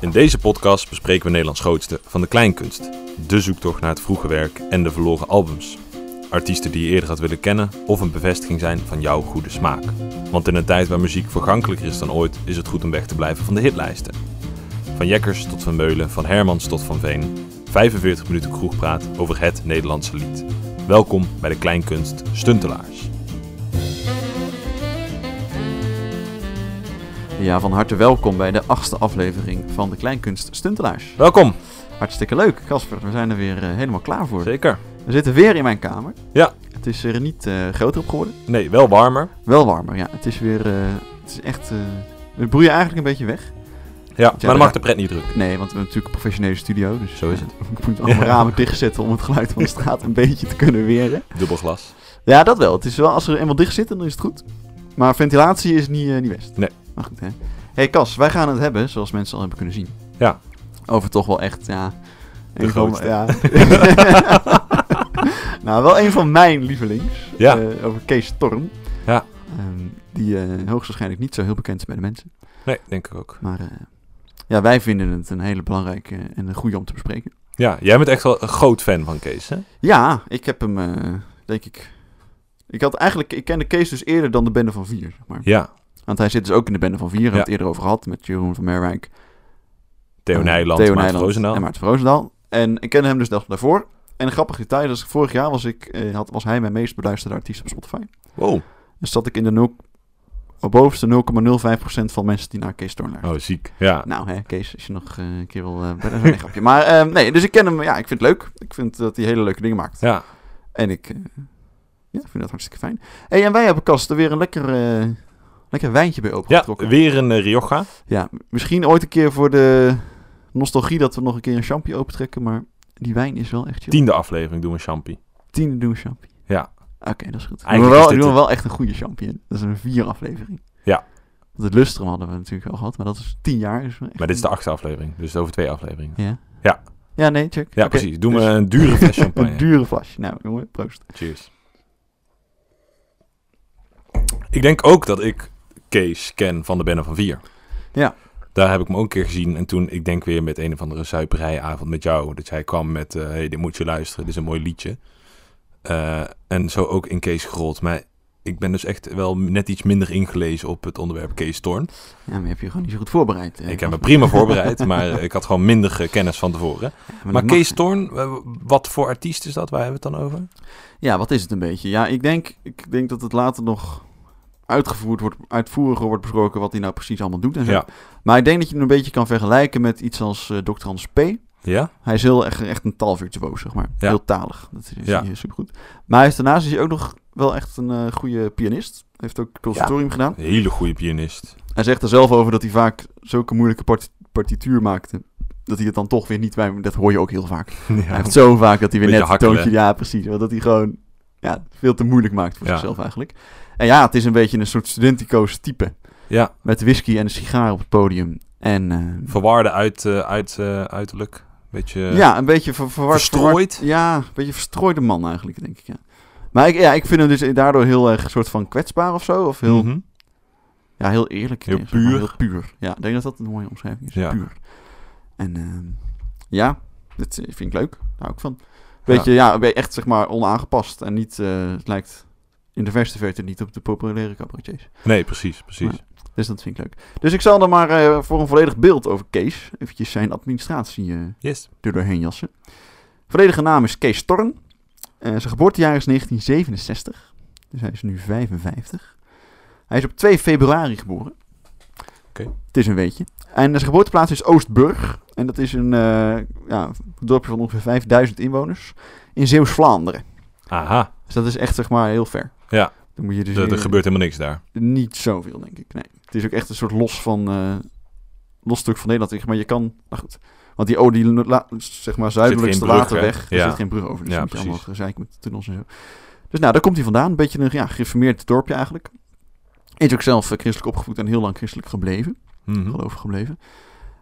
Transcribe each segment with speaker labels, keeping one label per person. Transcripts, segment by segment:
Speaker 1: In deze podcast bespreken we Nederlands grootste van de kleinkunst, de zoektocht naar het vroege werk en de verloren albums. Artiesten die je eerder had willen kennen of een bevestiging zijn van jouw goede smaak. Want in een tijd waar muziek vergankelijker is dan ooit, is het goed om weg te blijven van de hitlijsten. Van Jekkers tot Van Meulen, van Hermans tot Van Veen. 45 minuten kroegpraat over het Nederlandse lied. Welkom bij de kleinkunst Stuntelaars.
Speaker 2: Ja, van harte welkom bij de achtste aflevering van de Kleinkunst Stuntelaars.
Speaker 1: Welkom.
Speaker 2: Hartstikke leuk, Casper. We zijn er weer eh, helemaal klaar voor.
Speaker 1: Zeker.
Speaker 2: We zitten weer in mijn kamer.
Speaker 1: Ja.
Speaker 2: Het is er niet eh, groter op geworden.
Speaker 1: Nee, wel warmer.
Speaker 2: Wel warmer, ja. Het is weer... eh, het is echt... eh, we broeien eigenlijk een beetje weg.
Speaker 1: Ja, maar
Speaker 2: daar-
Speaker 1: dan mag de pret niet druk.
Speaker 2: Nee, want we hebben natuurlijk een professionele studio. Dus
Speaker 1: Zo is
Speaker 2: eh,
Speaker 1: het.
Speaker 2: ik moet allemaal
Speaker 1: Ja.
Speaker 2: ramen dichtzetten om het geluid van de straat een beetje te kunnen weren.
Speaker 1: Dubbel glas.
Speaker 2: Ja, dat wel. Het is wel, als ze er eenmaal dicht zitten, dan is het goed. Maar ventilatie is niet, eh, niet best.
Speaker 1: Nee.
Speaker 2: Maar goed, hè. hey Cas, wij gaan het hebben, zoals mensen al hebben kunnen zien.
Speaker 1: Ja.
Speaker 2: Over toch wel echt, ja...
Speaker 1: De
Speaker 2: een van-
Speaker 1: grootste.
Speaker 2: ja. nou, wel een van mijn lievelings.
Speaker 1: Ja.
Speaker 2: Eh, over Kees Storm.
Speaker 1: Ja.
Speaker 2: Ehm, die eh, hoogstwaarschijnlijk niet zo heel bekend is bij de mensen.
Speaker 1: Nee, denk ik ook.
Speaker 2: Maar eh, ja, wij vinden het een hele belangrijke en een goede om te bespreken.
Speaker 1: Ja, jij bent echt wel een groot fan van Kees, hè?
Speaker 2: Ja, ik heb hem, eh, denk ik... Ik had eigenlijk... Ik kende Kees dus eerder dan de Bende van Vier, zeg maar.
Speaker 1: Ja.
Speaker 2: Want hij zit dus ook in de Bende van Vier. We hebben
Speaker 1: Ja.
Speaker 2: het eerder over gehad met Jeroen van Merwijk.
Speaker 1: Theo
Speaker 2: eh,
Speaker 1: Nijland,
Speaker 2: Theo
Speaker 1: Maarten
Speaker 2: Nijland
Speaker 1: Roosendaal.
Speaker 2: En Maarten Roosendaal. En ik kende hem dus da- daarvoor. En een grappig detail is, vorig jaar was, ik, eh, had, was hij mijn meest beluisterde artiest op Spotify.
Speaker 1: Wow.
Speaker 2: Dus zat ik in de nul, op bovenste 0,05% van mensen die naar Kees Storm luisteren.
Speaker 1: Oh, ziek. Ja.
Speaker 2: Nou, hè, Kees, als je nog eh, een keer wil... eh, bij- nee, grapje. Maar ehm, nee, dus ik ken hem. Ja, ik vind het leuk. Ik vind dat hij hele leuke dingen maakt.
Speaker 1: Ja.
Speaker 2: En ik eh, ja, vind dat hartstikke fijn. Hey, en wij hebben, Kast, er weer een lekker, eh, lekker wijntje bij
Speaker 1: Ja,
Speaker 2: opengetrokken. Ja,
Speaker 1: weer een eh, Rioja.
Speaker 2: misschien ooit een keer voor de nostalgie dat we nog een keer een champie opentrekken. Maar die wijn is wel echt... Joh.
Speaker 1: Tiende aflevering doen we Champy.
Speaker 2: Tiende doen we champie.
Speaker 1: Ja.
Speaker 2: Oké, dat is goed. Doen we
Speaker 1: Eigenlijk
Speaker 2: wel,
Speaker 1: is dit
Speaker 2: doen we
Speaker 1: een-
Speaker 2: wel echt een goede champie in. Dat is een vier aflevering.
Speaker 1: Ja.
Speaker 2: Want het lustrum hadden we natuurlijk al gehad, maar dat is tien jaar. Dus echt
Speaker 1: Maar dit is de
Speaker 2: een-
Speaker 1: achtste aflevering, dus over twee afleveringen.
Speaker 2: Ja.
Speaker 1: Ja.
Speaker 2: Ja, nee, check.
Speaker 1: Ja,
Speaker 2: Oké,
Speaker 1: precies. Doen we
Speaker 2: dus
Speaker 1: een dure fles champagne.
Speaker 2: een dure flash. Nou, jongen, proost.
Speaker 1: Cheers. Ik denk ook dat ik Kees ken van de Benne van Vier.
Speaker 2: Ja.
Speaker 1: Daar heb ik hem ook een keer gezien. En toen, ik denk weer met een of andere zuiperijavond met jou. Dat jij kwam met, eh hey, dit moet je luisteren, dit is een mooi liedje. Eh, en zo ook in Kees gerold. Maar ik ben dus echt wel net iets minder ingelezen op het onderwerp Kees Storm.
Speaker 2: Ja, maar je hebt je gewoon niet zo goed voorbereid. eh,
Speaker 1: Ik heb me
Speaker 2: Bas.
Speaker 1: prima voorbereid, maar ik had gewoon minder eh, kennis van tevoren.
Speaker 2: Ja,
Speaker 1: Maar,
Speaker 2: dat mag
Speaker 1: Kees
Speaker 2: niet.
Speaker 1: Storm, eh, wat voor artiest is dat? Waar hebben we het dan over?
Speaker 2: Ja, wat is het een beetje? Ja, ik denk, ik denk dat het later nog uitgevoerd wordt, uitvoeriger wordt besproken wat hij nou precies allemaal doet en zo.
Speaker 1: Ja.
Speaker 2: Maar ik denk dat je hem een beetje kan vergelijken met iets als eh Dr. Hans P.
Speaker 1: Ja?
Speaker 2: Hij is heel echt, echt een taalvirtuoos, zeg maar.
Speaker 1: Ja.
Speaker 2: Heel talig. Dat is
Speaker 1: Ja.
Speaker 2: hij supergoed. Maar hij is, daarnaast is hij ook nog wel echt een eh, goede pianist. Hij heeft ook conservatorium gedaan.
Speaker 1: Een hele goede pianist.
Speaker 2: Hij zegt er zelf over dat hij vaak zulke moeilijke part- partituur maakte. Dat hij het dan toch weer niet bij... Dat hoor je ook heel vaak. Hij heeft zo vaak dat hij weer
Speaker 1: Beetje
Speaker 2: net een
Speaker 1: hakkelen.
Speaker 2: toontje... Ja, precies. want Dat hij gewoon ja, veel te moeilijk maakt voor
Speaker 1: Ja.
Speaker 2: zichzelf eigenlijk. En ja, het is een beetje een soort studentico's type.
Speaker 1: Ja,
Speaker 2: Met whisky en een sigaar op het podium. En eh,
Speaker 1: verwaarde uit, eh, uit, eh, uiterlijk. Beetje eh,
Speaker 2: ja, een beetje ver, verward.
Speaker 1: verstrooid.
Speaker 2: verward- Ja, een beetje verstrooide man eigenlijk, denk ik. Ja. Maar ik, ja, ik vind hem dus daardoor heel erg soort van kwetsbaar of zo. Of heel,
Speaker 1: Mhm.
Speaker 2: ja, heel eerlijk.
Speaker 1: Heel
Speaker 2: eh, zeg maar,
Speaker 1: puur.
Speaker 2: heel puur. Ja, ik denk dat dat een mooie omschrijving is.
Speaker 1: Ja.
Speaker 2: Puur. En ehm, ja, dat eh, vind ik leuk. Daar hou ik van. Beetje, ja, ben je echt zeg maar onaangepast en niet, eh, het lijkt in de verste verte niet op de populaire cabaretiers.
Speaker 1: Nee, precies, precies.
Speaker 2: Dus dat vind ik leuk. Dus ik zal dan maar eh, voor een volledig beeld over Kees, eventjes zijn administratie eh
Speaker 1: Yes.
Speaker 2: er doorheen jassen. Volledige naam is Kees Storm. Eh, zijn geboortejaar is 1967, dus hij is nu 55. Hij is op 2 februari geboren.
Speaker 1: Oké.
Speaker 2: Het is een weetje. En zijn geboorteplaats is Oostburg. En dat is een eh, ja, dorpje van ongeveer 5000 inwoners in Zeeuws-Vlaanderen.
Speaker 1: Aha,
Speaker 2: Dus dat is echt, zeg maar, heel ver.
Speaker 1: Ja.
Speaker 2: Dan moet je dus
Speaker 1: er, er
Speaker 2: hier
Speaker 1: gebeurt helemaal niks daar.
Speaker 2: niet zoveel, denk ik. Nee. Het is ook echt een soort los van... eh, los stuk van Nederland. zeg Maar je kan... Nou goed. Want die, oh, die la- zeg maar, zuidelijkste
Speaker 1: brug,
Speaker 2: waterweg...
Speaker 1: hè?
Speaker 2: Er
Speaker 1: Ja.
Speaker 2: zit geen brug over.
Speaker 1: Ja,
Speaker 2: Dus ja, moet je allemaal
Speaker 1: precies.
Speaker 2: gezeik met tunnels en zo. Dus nou, daar komt hij vandaan. Een beetje een ja, gereformeerd dorpje eigenlijk. Is ook zelf eh, christelijk opgevoed en heel lang christelijk gebleven.
Speaker 1: Mhm.
Speaker 2: Gelovig gebleven.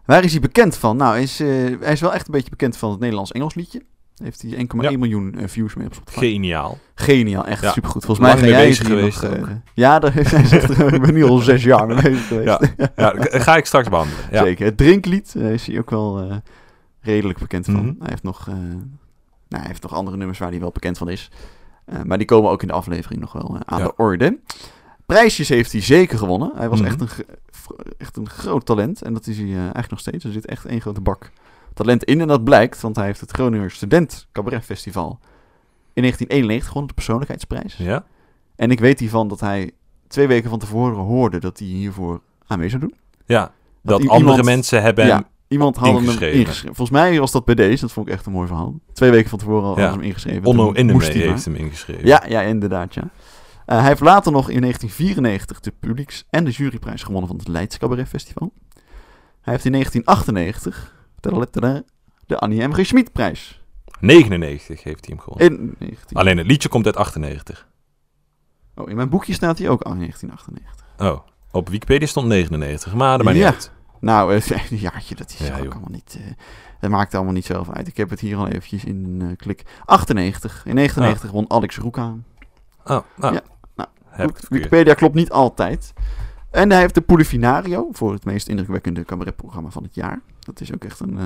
Speaker 2: Waar is hij bekend van? Nou, hij is, eh, hij is wel echt een beetje bekend van het Nederlands-Engels liedje. Heeft hij 1,1
Speaker 1: Ja.
Speaker 2: miljoen eh, views mee op Spotify.
Speaker 1: Geniaal.
Speaker 2: Geniaal, echt
Speaker 1: Ja.
Speaker 2: supergoed. Volgens mij
Speaker 1: Lang
Speaker 2: ga
Speaker 1: mee
Speaker 2: jij
Speaker 1: bezig
Speaker 2: hier
Speaker 1: geweest
Speaker 2: nog,
Speaker 1: ook.
Speaker 2: eh, ja, daar heeft hij zegt, ik ben nu al zes jaar mee bezig geweest.
Speaker 1: Ja, ja, dat ga ik straks behandelen. Ja.
Speaker 2: Zeker. Het drinklied eh, is hij ook wel eh, redelijk bekend van.
Speaker 1: Mhm.
Speaker 2: Hij heeft nog, eh, nou, hij heeft nog andere nummers waar hij wel bekend van is. Eh, maar die komen ook in de aflevering nog wel eh, aan
Speaker 1: Ja.
Speaker 2: de orde. Prijsjes heeft hij zeker gewonnen. Hij was
Speaker 1: Mhm.
Speaker 2: echt, een, ge- v- echt een groot talent. En dat is hij eh, eigenlijk nog steeds. Er zit echt één grote bak talent in. En dat blijkt, want hij heeft het Groninger Student Cabaret Festival in 1991 gewonnen. De persoonlijkheidsprijs.
Speaker 1: Ja?
Speaker 2: En ik weet hiervan dat hij twee weken van tevoren hoorde dat hij hiervoor aan mee zou doen.
Speaker 1: Ja, dat
Speaker 2: i-
Speaker 1: andere
Speaker 2: iemand-
Speaker 1: mensen hebben hem-
Speaker 2: Ja, iemand had hem
Speaker 1: ingeschreven.
Speaker 2: ingeschreven. Volgens mij was dat bij deze, dat vond ik echt een mooi verhaal. Twee weken van tevoren al
Speaker 1: Ja.
Speaker 2: hadden ze hem ingeschreven.
Speaker 1: Onno
Speaker 2: Toen
Speaker 1: Innemee
Speaker 2: moest hij maar.
Speaker 1: heeft hem ingeschreven.
Speaker 2: Ja, ja, inderdaad, ja. Eh, hij heeft later nog in 1994 de publieks- en de juryprijs gewonnen van het Leids Cabaret Festival. Hij heeft in 1998 tadadadada, de Annie M. G. Schmid-prijs.
Speaker 1: 99 heeft hij hem gewonnen.
Speaker 2: In 19...
Speaker 1: Alleen het liedje komt uit 98.
Speaker 2: Oh, in mijn boekje staat hij ook aan 1998.
Speaker 1: Oh, op Wikipedia stond 99, maar dat maakt
Speaker 2: Ja.
Speaker 1: niet uit.
Speaker 2: Nou, eh, een jaartje, dat is
Speaker 1: Ja,
Speaker 2: ook
Speaker 1: joh.
Speaker 2: allemaal niet... eh, dat maakt allemaal niet zoveel uit. Ik heb het hier al eventjes in een eh, klik. 98. In 99 won Alex Roeka
Speaker 1: Oh, nou,
Speaker 2: Ja, nou,
Speaker 1: Ah. heb ik
Speaker 2: Goed,
Speaker 1: het verkeerd.
Speaker 2: Wikipedia klopt niet altijd. En hij heeft de Polifinario voor het meest indrukwekkende cabaretprogramma van het jaar. Dat is ook echt een. eh,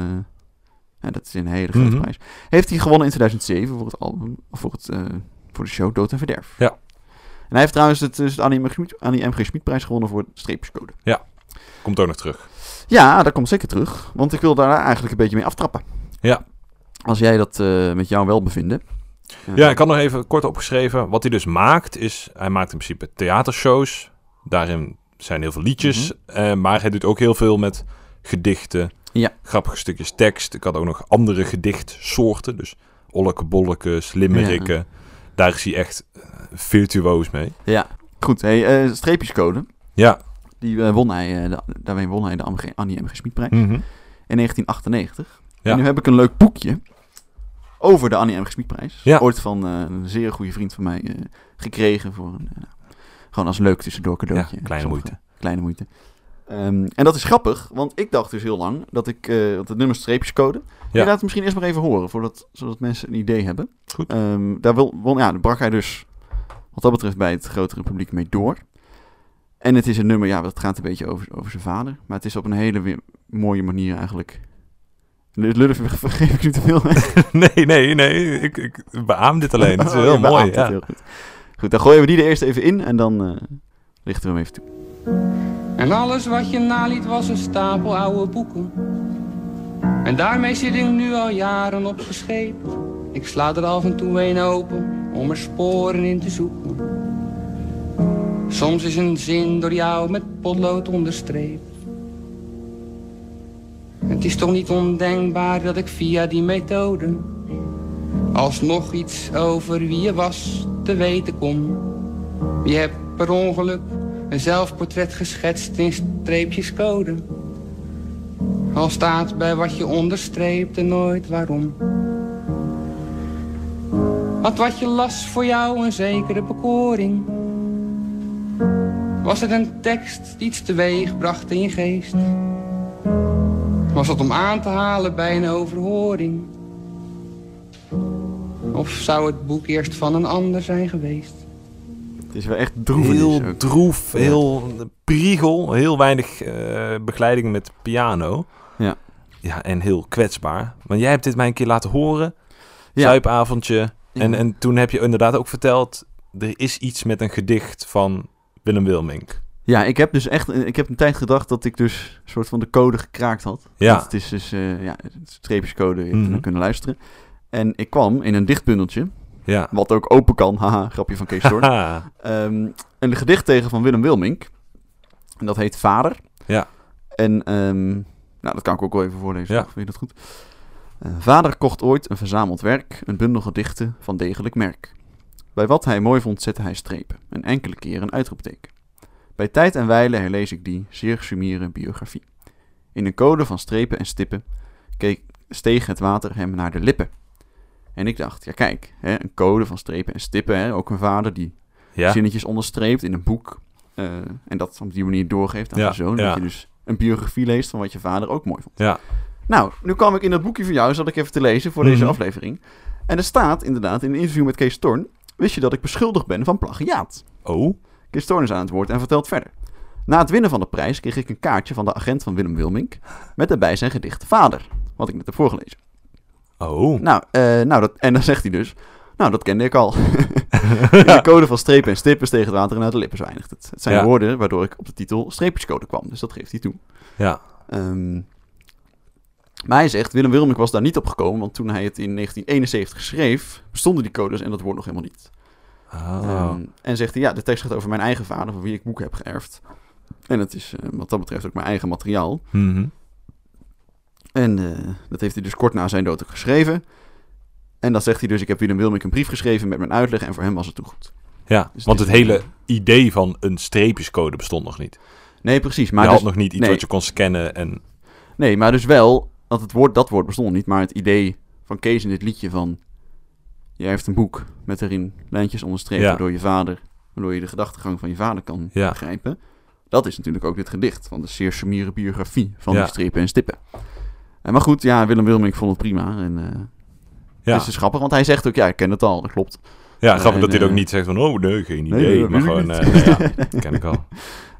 Speaker 2: ja, dat is een hele grote
Speaker 1: Mhm.
Speaker 2: prijs. Heeft hij gewonnen in 2007 voor het album, of voor, het, eh, voor de show Dood en Verderf.
Speaker 1: Ja.
Speaker 2: En hij heeft trouwens het, dus het Annie M. Schmid- Annie M. G. Schmid-prijs gewonnen voor streepjescode.
Speaker 1: Komt ook nog terug.
Speaker 2: Ja, dat komt zeker terug. Want ik wil daar eigenlijk een beetje mee aftrappen.
Speaker 1: Ja.
Speaker 2: Als jij dat eh, met jou wel bevinden. Mhm. Eh,
Speaker 1: Ja, ik had nog even kort opgeschreven. Wat hij dus maakt, is... Hij maakt in principe theatershows. Daarin zijn heel veel liedjes. eh, maar hij doet ook heel veel met gedichten.
Speaker 2: Mhm. Ja.
Speaker 1: Grappige stukjes tekst. Ik had ook nog andere gedichtsoorten. Dus olleke bolleke, slimmerikken. Daar is hij echt eh, virtuoos mee.
Speaker 2: Goed, hey, eh, streepjescode.
Speaker 1: Ja.
Speaker 2: Die eh, won hij, eh, de- daarmee won hij de Am- Annie M. G. Schmidprijs
Speaker 1: Mhm.
Speaker 2: in 1998.
Speaker 1: Hm. Ja.
Speaker 2: En nu heb ik een leuk boekje over de Annie M. G. Schmidprijs.
Speaker 1: Ja.
Speaker 2: Ooit van eh, een zeer goede vriend van mij eh, gekregen voor een, eh, nou, gewoon als leuk tussendoor cadeautje.
Speaker 1: Ja, kleine
Speaker 2: Sommige-
Speaker 1: moeite.
Speaker 2: Kleine moeite. Ehm, en dat is grappig, want ik dacht dus heel lang dat ik eh, want het nummer streepjescode. Je laat het misschien eerst maar even horen, voordat, zodat mensen een idee hebben.
Speaker 1: Goed.
Speaker 2: Ehm, daar wil, won- ja, daar brak hij dus wat dat betreft bij het grotere publiek mee door. En het is een nummer, ja, dat gaat een beetje over, over zijn vader. Maar het is op een hele wi- mooie manier eigenlijk. Lullen vergeef ik niet te veel.
Speaker 1: Nee, nee, nee. Ik, ik beaam dit alleen. Het is heel
Speaker 2: Oh, Je beaamt
Speaker 1: mooi.
Speaker 2: het
Speaker 1: Ja.
Speaker 2: heel goed. goed, dan gooien we die er eerst even in en dan eh, lichten we hem even toe.
Speaker 3: En alles wat je naliet was een stapel oude boeken. En daarmee zit ik nu al jaren op gescheept. Ik sla er af en toe een open om er sporen in te zoeken. Soms is een zin door jou met potlood onderstreept. Het is toch niet ondenkbaar dat ik via die methode alsnog iets over wie je was te weten kom. Je hebt per ongeluk een zelfportret geschetst in streepjes code. Al staat bij wat je onderstreept en nooit waarom. Had wat je las voor jou een zekere bekoring? Was het een tekst die iets teweeg bracht in je geest? Was het om aan te halen bij een overhoring? Of zou het boek eerst van een ander zijn geweest?
Speaker 2: Het is wel echt droevig.
Speaker 1: Heel droef, heel priegel, heel weinig eh, begeleiding met piano.
Speaker 2: Ja.
Speaker 1: Ja, en heel kwetsbaar. Want jij hebt dit mij een keer laten horen,
Speaker 2: Ja.
Speaker 1: zuipavondje. En,
Speaker 2: Ja.
Speaker 1: en toen heb je inderdaad ook verteld, er is iets met een gedicht van Willem Wilmink.
Speaker 2: Ja, ik heb dus echt, ik heb een tijd gedacht dat ik dus een soort van de code gekraakt had.
Speaker 1: Ja.
Speaker 2: Want het is dus, eh ja, het streepjescode, je hebt
Speaker 1: Mhm.
Speaker 2: ernaar kunnen luisteren. En ik kwam in een dichtbundeltje,
Speaker 1: Ja.
Speaker 2: wat ook open kan, haha, grapje van Kees Storm.
Speaker 1: Haha.
Speaker 2: Ehm, een gedicht tegen van Willem Wilmink. En dat heet Vader.
Speaker 1: Ja.
Speaker 2: En, ehm, nou, dat kan ik ook wel even voorlezen.
Speaker 1: Ja.
Speaker 2: toch? Vind je dat goed? Eh, Vader kocht ooit een verzameld werk, een bundel gedichten van degelijk merk. Bij wat hij mooi vond zette hij strepen, en enkele keer een uitroepteken. Bij tijd en wijle herlees ik die zeer sumiere biografie. In een code van strepen en stippen keek, steeg het water hem naar de lippen. En ik dacht, ja kijk, hè, een code van strepen en stippen, hè, ook een vader die
Speaker 1: ja.
Speaker 2: zinnetjes onderstreept in een boek. eh, en dat op die manier doorgeeft aan
Speaker 1: Ja,
Speaker 2: je zoon.
Speaker 1: ja.
Speaker 2: Dat je dus een biografie leest van wat je vader ook mooi vond.
Speaker 1: Ja.
Speaker 2: Nou, nu kwam ik in dat boekje van jou, zat ik even te lezen voor deze
Speaker 1: Mhm.
Speaker 2: aflevering. En er staat inderdaad in een interview met Kees Storn... wist je dat ik beschuldigd ben van plagiaat?
Speaker 1: Oh,
Speaker 2: Kees Toorn is aan het woord en vertelt verder. Na het winnen van de prijs kreeg ik een kaartje van de agent van Willem Wilmink... met daarbij zijn gedicht Vader, wat ik net heb voorgelezen.
Speaker 1: oh.
Speaker 2: Nou, eh, nou dat, en dan zegt hij dus... Nou, dat kende ik al. In de code van strepen en stippers tegen het water en uit de lippen eindigt het. Het zijn
Speaker 1: Ja.
Speaker 2: woorden waardoor ik op de titel streepjescode kwam, dus dat geeft hij toe.
Speaker 1: Ja.
Speaker 2: Ehm, maar hij zegt, Willem Wilmink was daar niet op gekomen... want toen hij het in 1971 schreef, bestonden die codes en dat woord nog helemaal niet.
Speaker 1: Ah.
Speaker 2: Ehm, en zegt hij, ja, de tekst gaat over mijn eigen vader, van wie ik boeken heb geërfd. En dat is eh, wat dat betreft ook mijn eigen materiaal.
Speaker 1: Mhm.
Speaker 2: En eh, dat heeft hij dus kort na zijn dood ook geschreven. En dan zegt hij dus, ik heb Willem Wilmink een brief geschreven met mijn uitleg en voor hem was het toen goed.
Speaker 1: Ja,
Speaker 2: Dus
Speaker 1: want
Speaker 2: het
Speaker 1: het
Speaker 2: is-
Speaker 1: hele idee van een streepjescode bestond nog niet.
Speaker 2: Nee, precies.
Speaker 1: Maar
Speaker 2: Maar
Speaker 1: je
Speaker 2: dus,
Speaker 1: had nog niet iets
Speaker 2: nee.
Speaker 1: wat je kon scannen en...
Speaker 2: Nee, maar dus wel, dat, het woord, dat woord bestond niet, maar het idee van Kees in dit liedje van... Jij heeft een boek met erin lijntjes onderstreept
Speaker 1: Ja.
Speaker 2: door je vader, waardoor je de gedachtegang van je vader kan
Speaker 1: Ja.
Speaker 2: begrijpen. Dat is natuurlijk ook dit gedicht, van de zeer sumiere biografie van
Speaker 1: Ja.
Speaker 2: die strepen en stippen. Eh, maar goed, ja, Willem Wilmink vond het prima. En, eh
Speaker 1: Ja,
Speaker 2: Dus het is grappig, want hij zegt ook, ja, ik ken het al, dat klopt.
Speaker 1: ja grappig
Speaker 2: en,
Speaker 1: dat hij er ook
Speaker 2: eh,
Speaker 1: niet zegt van... Oh, nee, geen
Speaker 2: nee,
Speaker 1: idee.
Speaker 2: dat
Speaker 1: maar
Speaker 2: weet ik
Speaker 1: gewoon...
Speaker 2: niet.
Speaker 1: eh, nou ja, dat ken ik al.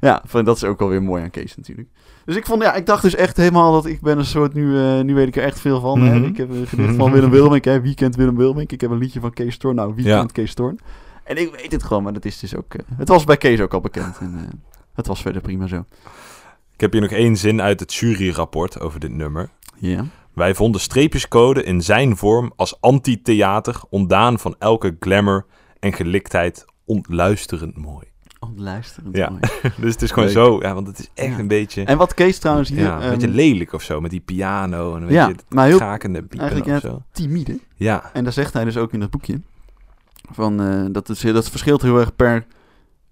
Speaker 2: Ja, van, dat is ook alweer mooi aan Kees natuurlijk. Dus ik vond, ja, ik dacht dus echt helemaal dat ik ben een soort, nu, eh, nu weet ik er echt veel van. hè.
Speaker 1: Mhm.
Speaker 2: Ik heb een gedicht van Willem Wilmink, hè, wie kent Willem Wilmink? Ik heb een liedje van Kees Thorn, nou, wie
Speaker 1: Ja.
Speaker 2: kent Kees Thorn? En ik weet het gewoon, maar dat is dus ook, eh, het was bij Kees ook al bekend. En, eh, het was verder prima zo.
Speaker 1: Ik heb hier nog één zin uit het juryrapport over dit nummer.
Speaker 2: Ja.
Speaker 1: Wij vonden streepjescode in zijn vorm als anti-theater... ontdaan van elke glamour en geliktheid ontluisterend mooi.
Speaker 2: Oh, luisterend.
Speaker 1: Ja.
Speaker 2: mooi.
Speaker 1: Dus het is gewoon
Speaker 2: Leuk.
Speaker 1: zo. Ja, want het is echt
Speaker 2: Ja.
Speaker 1: een beetje...
Speaker 2: En wat Kees trouwens hier,
Speaker 1: ja, een beetje
Speaker 2: ehm,
Speaker 1: lelijk of zo, met die piano en een
Speaker 2: ja,
Speaker 1: beetje
Speaker 2: maar
Speaker 1: het
Speaker 2: heel
Speaker 1: krakende piepen
Speaker 2: eigenlijk,
Speaker 1: of zo.
Speaker 2: timide.
Speaker 1: Ja,
Speaker 2: En daar zegt hij dus ook in dat boekje. Van, eh, dat, is, dat verschilt heel erg per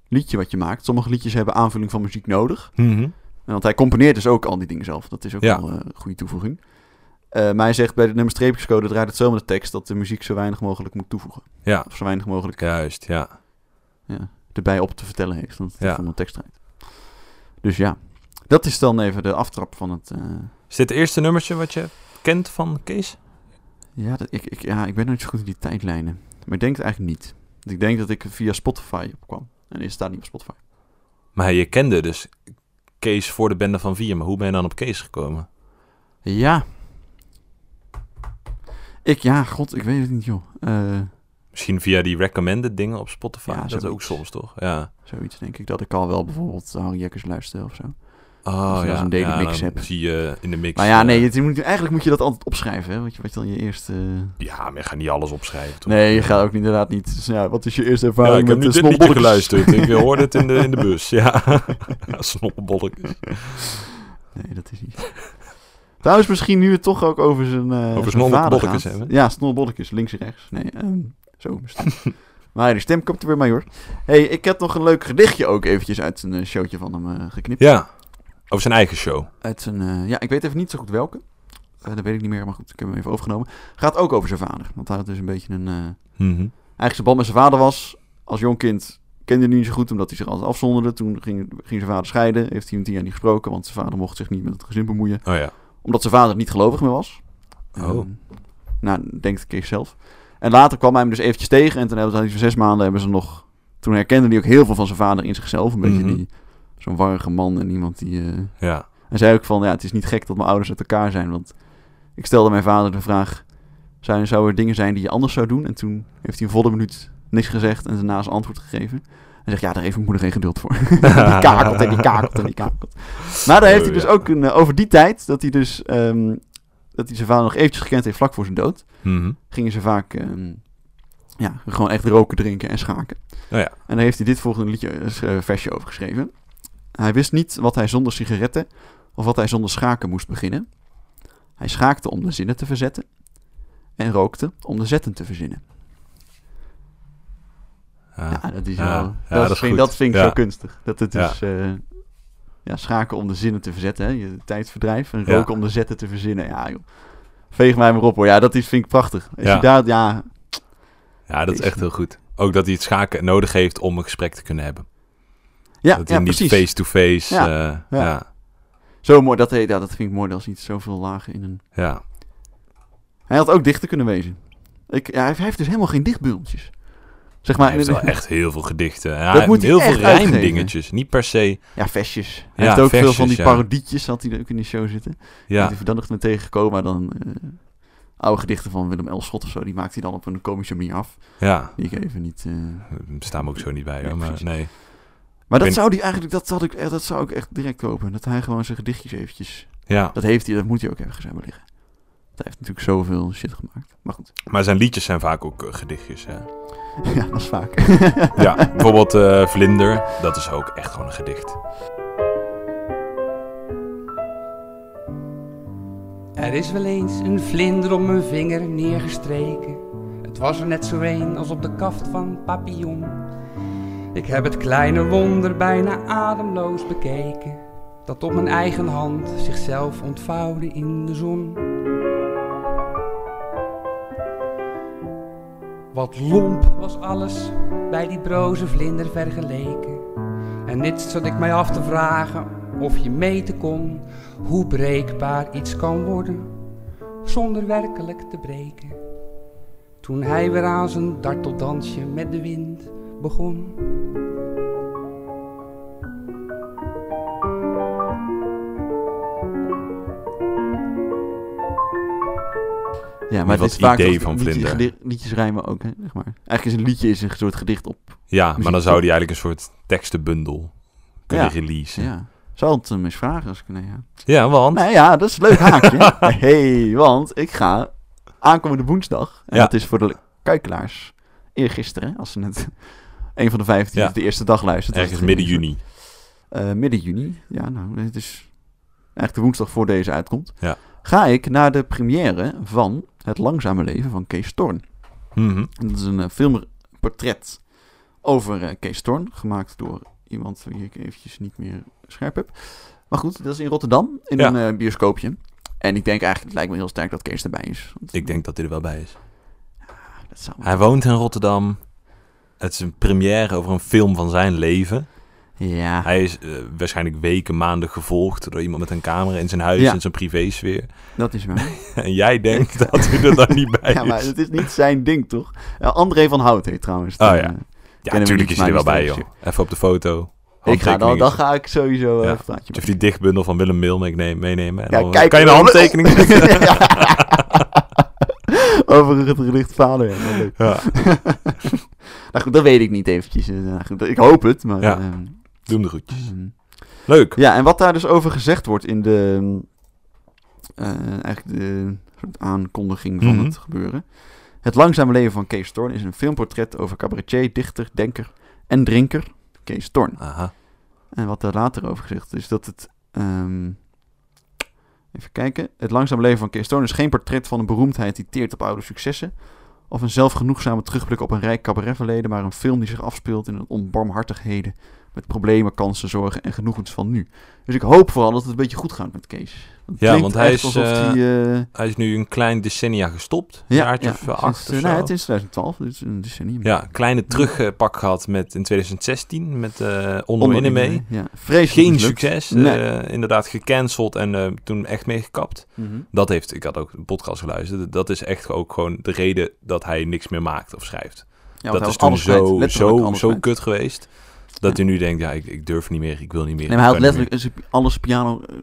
Speaker 2: liedje wat je maakt. Sommige liedjes hebben aanvulling van muziek nodig.
Speaker 1: Mhm.
Speaker 2: En Want hij componeert dus ook al die dingen zelf. Dat is ook
Speaker 1: Ja.
Speaker 2: wel eh, een goede toevoeging. Eh, maar hij zegt bij de nummer streepjescode draait het zo met de tekst dat de muziek zo weinig mogelijk moet toevoegen.
Speaker 1: ja,
Speaker 2: Of zo weinig mogelijk
Speaker 1: juist, ja.
Speaker 2: ja, erbij op te vertellen heeft. Want het
Speaker 1: Ja.
Speaker 2: van de tekst draait. Dus ja, dat is dan even de aftrap van het. eh,
Speaker 1: Is dit het eerste nummertje wat je kent van Kees?
Speaker 2: ja, dat, ik, ik, ja, ik ben nooit zo goed in die tijdlijnen. Maar ik denk het eigenlijk niet. Want ik denk dat ik via Spotify opkwam. En is staat niet op Spotify.
Speaker 1: Maar je kende dus Kees voor de bende van vier, maar hoe ben je dan op Kees gekomen?
Speaker 2: Ja. Ik, ja, god, ik weet het niet, joh. Eh,
Speaker 1: Misschien via die recommended dingen op Spotify?
Speaker 2: Ja,
Speaker 1: dat ook
Speaker 2: zoiets.
Speaker 1: soms, toch? Ja.
Speaker 2: zoiets denk ik dat ik al wel bijvoorbeeld Harry Jekkers luister of zo.
Speaker 1: Oh,
Speaker 2: Als je
Speaker 1: ja.
Speaker 2: als een daily
Speaker 1: ja,
Speaker 2: mix
Speaker 1: dan
Speaker 2: hebt.
Speaker 1: zie je in de mix...
Speaker 2: Maar ja,
Speaker 1: eh,
Speaker 2: nee, het- je moet, eigenlijk moet je dat altijd opschrijven, hè? Wat je, wat je dan je eerste...
Speaker 1: ja, maar je gaat niet alles opschrijven, toch?
Speaker 2: Nee, je gaat ook niet, inderdaad niet. Dus ja, wat is je eerste
Speaker 1: Ja,
Speaker 2: ervaring
Speaker 1: ik heb nu
Speaker 2: met de
Speaker 1: dit liedje
Speaker 2: snotbolletjes?
Speaker 1: geluisterd. Ik hoorde het in de, in de bus, ja. Snoppenbolletjes.
Speaker 2: Nee, dat is niet. Trouwens, misschien nu het toch ook over zijn, eh zijn vader
Speaker 1: snollebolletjes
Speaker 2: gaat.
Speaker 1: hebben.
Speaker 2: Ja, snollebolletjes, links en rechts. Nee, ehm, zo. mijn stem. maar de stem komt er weer mee, hoor. hey, ik heb nog een leuk gedichtje ook eventjes uit een eh, showtje van hem eh, geknipt.
Speaker 1: Ja, over zijn eigen show.
Speaker 2: Uit zijn, eh, ja, ik weet even niet zo goed welke. Eh, dat weet ik niet meer, maar goed, ik heb hem even overgenomen. Gaat ook over zijn vader, want hij had dus een beetje een... eh,
Speaker 1: Mhm.
Speaker 2: eigenlijk zijn band met zijn vader was. Als jong kind kende hij niet zo goed, omdat hij zich altijd afzonderde. Toen ging, ging zijn vader scheiden. Heeft hij een tien jaar niet gesproken, want zijn vader mocht zich niet met het gezin bemoeien.
Speaker 1: Oh ja.
Speaker 2: Omdat zijn vader niet gelovig meer was.
Speaker 1: Oh.
Speaker 2: Ehm, nou, denkt Kees zelf. En later kwam hij hem dus eventjes tegen. En toen hebben ze voor zes maanden hebben ze nog... Toen herkende hij ook heel veel van zijn vader in zichzelf. Een beetje
Speaker 1: Mhm.
Speaker 2: die... Zo'n warrige man en iemand die... eh,
Speaker 1: Ja.
Speaker 2: en zei ook van, ja, het is niet gek dat mijn ouders uit elkaar zijn. Want ik stelde mijn vader de vraag, zijn, zou er dingen zijn die je anders zou doen? En toen heeft hij een volle minuut niks gezegd en daarna zijn antwoord gegeven. En zegt, ja, daar heeft mijn moeder geen geduld voor. die kakelt en die kakelt en die kakelt. Maar daar heeft hij
Speaker 1: Oh,
Speaker 2: dus
Speaker 1: ja.
Speaker 2: ook een, eh, over die tijd, dat hij dus, ehm, dat hij zijn vader nog eventjes gekend heeft vlak voor zijn dood.
Speaker 1: Mhm.
Speaker 2: Gingen ze vaak, ehm, ja, gewoon echt roken, drinken en schaken.
Speaker 1: Oh ja.
Speaker 2: En daar heeft hij dit volgende liedje, eh, versje over geschreven. Hij wist niet wat hij zonder sigaretten of wat hij zonder schaken moest beginnen. Hij schaakte om de zinnen te verzetten en rookte om de zetten te verzinnen.
Speaker 1: Ja.
Speaker 2: Ja, dat is
Speaker 1: Ja.
Speaker 2: wel...
Speaker 1: Ah. Ja,
Speaker 2: dat,
Speaker 1: dat is
Speaker 2: vind,
Speaker 1: goed.
Speaker 2: dat vind ik
Speaker 1: Ja.
Speaker 2: zo kunstig. Dat het
Speaker 1: Ja.
Speaker 2: is... eh, ja, schaken om de zinnen te verzetten, hè. Je tijdverdrijf. En
Speaker 1: Ja.
Speaker 2: roken om de zetten te verzinnen. Ja, joh. Veeg mij maar op, hoor. Ja, dat is, vind ik prachtig. Als
Speaker 1: Ja.
Speaker 2: je daar... Ja,
Speaker 1: Ja, dat is
Speaker 2: Deze.
Speaker 1: echt heel goed. Ook dat hij het schaken nodig heeft om een gesprek te kunnen hebben.
Speaker 2: ja,
Speaker 1: dat hij
Speaker 2: ja
Speaker 1: niet
Speaker 2: precies.
Speaker 1: face-to-face...
Speaker 2: Ja,
Speaker 1: eh,
Speaker 2: ja.
Speaker 1: ja.
Speaker 2: Zo mooi, dat, ja, dat vind ik mooi, dat is niet zoveel lagen in een...
Speaker 1: Ja.
Speaker 2: Hij had ook dichter kunnen wezen. Ik, ja, hij heeft dus helemaal geen dichtbundeltjes. Zeg maar,
Speaker 1: Hij heeft
Speaker 2: in-
Speaker 1: wel echt heel veel gedichten. Ja,
Speaker 2: Dat
Speaker 1: hij
Speaker 2: moet
Speaker 1: heeft heel
Speaker 2: hij
Speaker 1: veel
Speaker 2: echt uitgeven.
Speaker 1: rijmdingetjes. Niet per se.
Speaker 2: ja, versjes. Hij
Speaker 1: Ja,
Speaker 2: heeft ook veel
Speaker 1: versjes,
Speaker 2: van die
Speaker 1: ja.
Speaker 2: parodietjes, had hij ook in die show zitten.
Speaker 1: Ja,
Speaker 2: Die verdacht me tegengekomen, maar dan eh, oude gedichten van Willem L. Schot of zo, die maakt hij dan op een komische manier af.
Speaker 1: ja.
Speaker 2: Die ik even niet... eh,
Speaker 1: Daar staan we ook zo niet bij.
Speaker 2: Nee,
Speaker 1: Hoor. Maar
Speaker 2: precies.
Speaker 1: nee.
Speaker 2: Maar dat
Speaker 1: Ben-
Speaker 2: zou die eigenlijk, dat, had ik, eh, dat zou ik echt direct kopen. Dat hij gewoon zijn gedichtjes eventjes...
Speaker 1: Ja.
Speaker 2: Dat heeft hij, dat moet hij ook ergens hebben liggen. Want Hij heeft natuurlijk zoveel shit gemaakt. Maar goed,
Speaker 1: Maar zijn liedjes zijn vaak ook eh, gedichtjes. Hè?
Speaker 2: ja, dat is vaak.
Speaker 1: Ja, bijvoorbeeld eh, Vlinder. Dat is ook echt gewoon een gedicht.
Speaker 3: Er is wel eens een vlinder op mijn vinger neergestreken. Het was er net zo een als op de kaft van Papillon. Ik heb het kleine wonder bijna ademloos bekeken. Dat op mijn eigen hand zichzelf ontvouwde in de zon. Wat lomp was alles bij die broze vlinder vergeleken. En dit zat ik mij af te vragen of je meten kon hoe breekbaar iets kan worden zonder werkelijk te breken. Toen hij weer aan zijn darteldansje met de wind begon.
Speaker 2: Ja, maar
Speaker 1: Wat
Speaker 2: het is vaak
Speaker 1: idee
Speaker 2: als-
Speaker 1: van
Speaker 2: liedjes,
Speaker 1: vlinder.
Speaker 2: gedi- liedjes rijmen ook, hè, zeg maar. Eigenlijk is een liedje is een soort gedicht op.
Speaker 1: Ja, maar dan
Speaker 2: Muziek.
Speaker 1: zou die eigenlijk een soort tekstenbundel kunnen
Speaker 2: Ja.
Speaker 1: releasen. Ja,
Speaker 2: Ja. Zou het hem eens vragen als ik... Nee, ja.
Speaker 1: want
Speaker 2: Nou ja, dat is een leuk haakje. hey, want ik ga aankomende woensdag... En
Speaker 1: Ja.
Speaker 2: dat is voor de kuikelaars eergisteren, hè, als ze net... Een van de vijftien
Speaker 1: Ja.
Speaker 2: die de eerste dag luistert.
Speaker 1: ergens midden juni.
Speaker 2: Eh, midden juni. Ja, nou, het is eigenlijk de woensdag voor deze uitkomt.
Speaker 1: Ja.
Speaker 2: Ga ik naar de première van Het Langzame Leven van Kees Thorn.
Speaker 1: Mhm.
Speaker 2: En Dat is een eh, filmportret over eh, Kees Thorn, gemaakt door iemand die ik eventjes niet meer scherp heb. Maar goed, dat is in Rotterdam, in
Speaker 1: Ja.
Speaker 2: een eh, bioscoopje. En ik denk eigenlijk, het lijkt me heel sterk dat Kees erbij is. Want
Speaker 1: Ik denk dat hij er wel bij is.
Speaker 2: dat zou
Speaker 1: Hij woont in Rotterdam. Het is een première over een film van zijn leven.
Speaker 2: Ja,
Speaker 1: Hij is eh, waarschijnlijk weken, maanden gevolgd door iemand met een camera in zijn huis,
Speaker 2: Ja.
Speaker 1: in zijn privésfeer.
Speaker 2: dat is waar.
Speaker 1: En jij denkt dat hij er dan niet bij
Speaker 2: ja, maar
Speaker 1: is.
Speaker 2: het is niet zijn ding, toch? Eh, André van Hout heet trouwens.
Speaker 1: Oh
Speaker 2: de,
Speaker 1: ja.
Speaker 2: eh,
Speaker 1: Ja,
Speaker 2: we
Speaker 1: natuurlijk is
Speaker 2: niet,
Speaker 1: hij er wel
Speaker 2: maar
Speaker 1: bij,
Speaker 2: die
Speaker 1: joh.
Speaker 2: is
Speaker 1: Even op de foto.
Speaker 2: Ik ga dan,
Speaker 1: handtekeningen.
Speaker 2: dan ga ik sowieso eh,
Speaker 1: Ja.
Speaker 2: een praatje
Speaker 1: Je hebt die dichtbundel van Willem Mil meenemen. meenemen en dan eh,
Speaker 2: kijk,
Speaker 1: kan je een
Speaker 2: Willem-
Speaker 1: handtekening zetten.
Speaker 2: Over het gelicht vader. Ja, wel leuk.
Speaker 1: Ja,
Speaker 2: Nou goed, dat weet ik niet eventjes. Eh, nou goed, ik hoop het, maar...
Speaker 1: Ja.
Speaker 2: ehm,
Speaker 1: doe hem de groetjes.
Speaker 2: ehm.
Speaker 1: Leuk.
Speaker 2: ja, en wat daar dus over gezegd wordt in de... eh, eigenlijk de soort aankondiging van
Speaker 1: Mhm.
Speaker 2: het gebeuren. Het langzame leven van Kees Thorn is een filmportret over cabaretier, dichter, denker en drinker Kees Thorn.
Speaker 1: Aha.
Speaker 2: En wat daar later over gezegd is dat het. ehm, even kijken. Het langzaam leven van Kees Toon is geen portret van een beroemdheid die teert op oude successen. Of een zelfgenoegzame terugblik op een rijk cabaretverleden, maar een film die zich afspeelt in een onbarmhartigheden. Met problemen, kansen, zorgen en genoegens van nu. Dus ik hoop vooral dat het een beetje goed gaat met Kees. Het
Speaker 1: Ja,
Speaker 2: klinkt
Speaker 1: want hij
Speaker 2: echt
Speaker 1: is,
Speaker 2: Alsof
Speaker 1: eh,
Speaker 2: hij, eh,
Speaker 1: Hij is nu een klein decennia gestopt. Een
Speaker 2: ja,
Speaker 1: jaartje
Speaker 2: ja,
Speaker 1: of eh,
Speaker 2: sinds,
Speaker 1: acht
Speaker 2: eh,
Speaker 1: of zo.
Speaker 2: nou, het is 2012, dus een decennium.
Speaker 1: Ja, kleine terugpak gehad met in 2016 met eh Onno
Speaker 2: Onder-
Speaker 1: mee.
Speaker 2: Ja, vreselijk.
Speaker 1: Geen
Speaker 2: mislukt.
Speaker 1: succes.
Speaker 2: Nee.
Speaker 1: eh, inderdaad gecanceld en eh, toen echt meegekapt.
Speaker 2: Mhm.
Speaker 1: Dat heeft, ik had ook een podcast geluisterd. Dat is echt ook gewoon de reden dat hij niks meer maakt of schrijft.
Speaker 2: Ja, want
Speaker 1: dat
Speaker 2: hij
Speaker 1: is
Speaker 2: was
Speaker 1: toen
Speaker 2: alles kwijt,
Speaker 1: zo,
Speaker 2: letterlijk
Speaker 1: zo,
Speaker 2: alles
Speaker 1: zo
Speaker 2: kwijt.
Speaker 1: kut geweest. Dat
Speaker 2: Ja.
Speaker 1: hij nu denkt, ja, ik, ik durf niet meer, ik wil niet meer.
Speaker 2: Nee, maar hij
Speaker 1: ik
Speaker 2: had
Speaker 1: kan niet
Speaker 2: letterlijk zijn- alles piano, eh,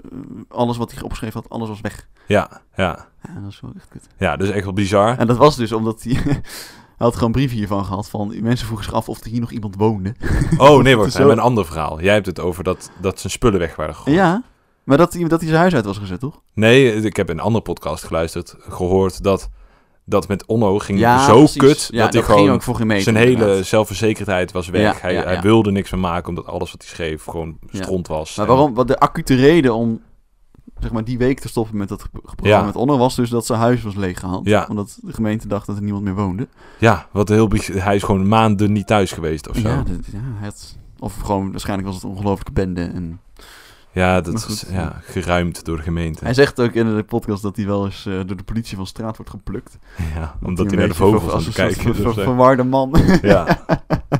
Speaker 2: alles wat hij opgeschreven had, alles was weg.
Speaker 1: meer. Ja, ja.
Speaker 2: Ja, dat is wel echt kut.
Speaker 1: ja, dat is echt wel bizar.
Speaker 2: En dat was dus omdat hij, hij had gewoon brieven hiervan gehad van, mensen vroegen zich af of er hier nog iemand woonde.
Speaker 1: Oh nee, wacht,
Speaker 2: Zo-
Speaker 1: we hebben een ander verhaal. Jij hebt het over dat, dat zijn spullen weg waren gegooid.
Speaker 2: Ja, maar dat hij, dat hij zijn huis uit was gezet, toch?
Speaker 1: Nee, ik heb in een andere podcast geluisterd, gehoord dat dat met Onno ging
Speaker 2: ja,
Speaker 1: zo
Speaker 2: precies.
Speaker 1: kut.
Speaker 2: Ja,
Speaker 1: dat hij
Speaker 2: ging
Speaker 1: gewoon
Speaker 2: ook voor geen meter,
Speaker 1: zijn hele
Speaker 2: inderdaad.
Speaker 1: zelfverzekerdheid was weg.
Speaker 2: Ja,
Speaker 1: hij,
Speaker 2: ja,
Speaker 1: hij
Speaker 2: ja.
Speaker 1: wilde niks meer maken, omdat alles wat hij schreef gewoon
Speaker 2: Ja.
Speaker 1: stront was.
Speaker 2: Maar
Speaker 1: En-
Speaker 2: waarom, wat de acute reden om zeg maar, die week te stoppen met dat ge- programma
Speaker 1: Ja.
Speaker 2: met Onno was dus dat zijn huis was leeggehaald.
Speaker 1: Ja.
Speaker 2: Omdat de gemeente dacht dat er niemand meer woonde.
Speaker 1: Ja, wat heel bi- hij is gewoon maanden niet thuis geweest of zo.
Speaker 2: Ja,
Speaker 1: Ja,
Speaker 2: dat- ja, hij had- of gewoon waarschijnlijk was het een ongelooflijke bende en...
Speaker 1: dat
Speaker 2: Maar
Speaker 1: is
Speaker 2: goed.
Speaker 1: ja, geruimd door de gemeente.
Speaker 2: Hij zegt ook in de podcast dat hij wel eens eh, door de politie van straat wordt geplukt.
Speaker 1: Ja, omdat hij
Speaker 2: een
Speaker 1: naar de
Speaker 2: beetje
Speaker 1: vogels
Speaker 2: ver-
Speaker 1: aan
Speaker 2: als
Speaker 1: het
Speaker 2: een soort
Speaker 1: kijken is
Speaker 2: ver-
Speaker 1: of
Speaker 2: ver-
Speaker 1: zo.
Speaker 2: verwarde man.
Speaker 1: Ja.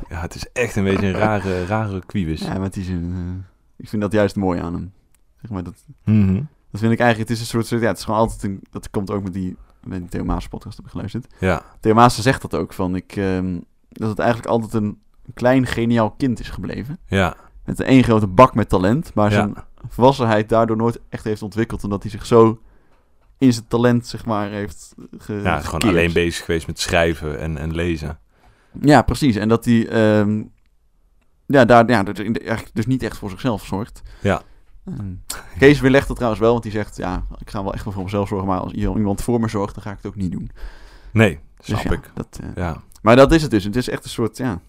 Speaker 1: ja, het is echt een beetje een rare, rare kwiebus.
Speaker 2: ja, met die zin. eh, ik vind dat juist mooi aan hem. Zeg maar, dat,
Speaker 1: Mhm.
Speaker 2: dat vind ik eigenlijk, het is een soort, soort- ja, het is gewoon altijd een, dat komt ook met die, met die Theo Maas podcast heb ik geluisterd.
Speaker 1: Ja,
Speaker 2: Theo Maas zegt dat ook, van ik, ehm, dat het eigenlijk altijd een klein geniaal kind is gebleven.
Speaker 1: ja.
Speaker 2: Met één grote bak met talent, maar
Speaker 1: Ja.
Speaker 2: zijn volwassenheid daardoor nooit echt heeft ontwikkeld, omdat hij zich zo in zijn talent, zeg maar, heeft ge
Speaker 1: ja, gewoon
Speaker 2: gekeerd.
Speaker 1: alleen bezig geweest met schrijven en, en lezen.
Speaker 2: Ja, precies. En dat hij ehm, ja, daar, ja, dat- in de- eigenlijk dus niet echt voor zichzelf zorgt.
Speaker 1: Ja.
Speaker 2: Ehm, Kees weerlegt dat trouwens wel, want die zegt... ja, ik ga wel echt wel voor mezelf zorgen... maar als iemand voor me zorgt, dan ga ik het ook niet doen.
Speaker 1: Nee,
Speaker 2: Dus
Speaker 1: snap
Speaker 2: ja,
Speaker 1: ik.
Speaker 2: Dat, eh,
Speaker 1: Ja,
Speaker 2: Maar dat is het dus. Het is echt een soort, ja...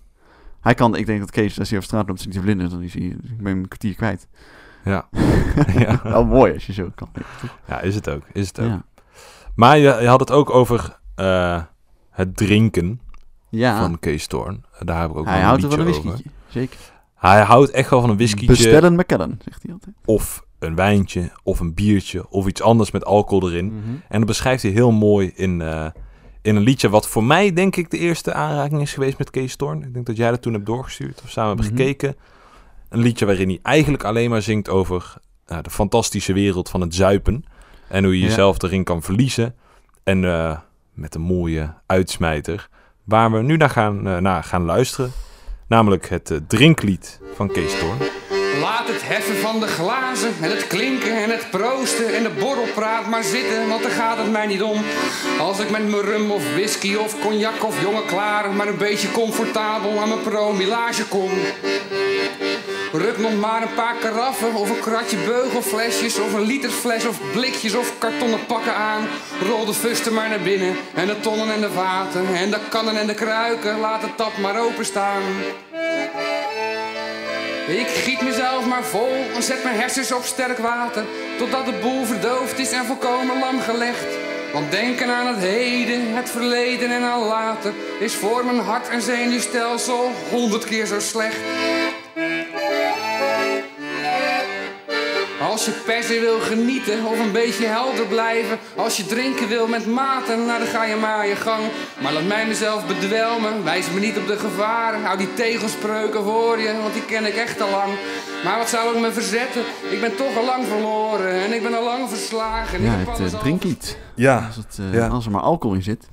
Speaker 2: Hij kan, ik denk dat Kees, als hij op straat loopt, zit hij te blinden. Dan is hij, ik ben een kwartier kwijt.
Speaker 1: ja. ja.
Speaker 2: Wel mooi als je zo kan.
Speaker 1: ja, is het ook. Is het ook.
Speaker 2: Ja,
Speaker 1: Maar je, je had het ook over eh, het drinken
Speaker 2: ja
Speaker 1: van Kees Thorn. Daar heb ik ook wel
Speaker 2: hij
Speaker 1: een
Speaker 2: houdt er van
Speaker 1: liedje
Speaker 2: een
Speaker 1: over.
Speaker 2: whisky. Zeker.
Speaker 1: Hij houdt echt wel van een whisky.
Speaker 2: Bestellen McKellen, zegt hij altijd.
Speaker 1: Of een wijntje, of een biertje, of iets anders met alcohol erin.
Speaker 2: Mhm.
Speaker 1: En dat beschrijft hij heel mooi in, eh, in een liedje wat voor mij denk ik de eerste aanraking is geweest met Kees Thorn. Ik denk dat jij dat toen hebt doorgestuurd of samen hebben
Speaker 2: Mhm.
Speaker 1: gekeken. Een liedje waarin hij eigenlijk alleen maar zingt over eh, de fantastische wereld van het zuipen. En hoe je
Speaker 2: Ja.
Speaker 1: jezelf erin kan verliezen. En eh, met een mooie uitsmijter waar we nu naar gaan, eh, naar gaan luisteren. Namelijk het eh, drinklied van Kees Thorn.
Speaker 4: Laat het heffen van de glazen en het klinken en het proosten en de borrelpraat maar zitten, want daar gaat het mij niet om. Als ik met mijn rum of whisky of cognac of jonge klaren maar een beetje comfortabel aan mijn promillage kom. Ruk nog maar een paar karaffen of een kratje beugelflesjes of een liter fles of blikjes of kartonnen pakken aan. Rol de fusten maar naar binnen en de tonnen en de vaten en de kannen en de kruiken, laat de tap maar openstaan. Ik giet mezelf maar vol en zet mijn hersens op sterk water. Totdat de boel verdoofd is en volkomen lam gelegd. Want denken aan het heden, het verleden en aan later is voor mijn hart- en zenuwstelsel honderd keer zo slecht. Als je per se wil genieten of een beetje helder blijven. Als je drinken wil met mate, nou dan ga je maar je gang. Maar laat mij mezelf bedwelmen, wijs me niet op de gevaren. Hou die tegelspreuken voor je, want die ken ik echt al lang. Maar wat zou ik me verzetten? Ik ben toch al lang verloren en ik ben al lang verslagen.
Speaker 2: Ja,
Speaker 4: Ik heb
Speaker 2: het
Speaker 4: alles
Speaker 2: eh,
Speaker 4: al
Speaker 2: drinklied.
Speaker 1: Ja,
Speaker 2: Als, het, eh,
Speaker 1: Ja.
Speaker 2: als er maar alcohol in zit.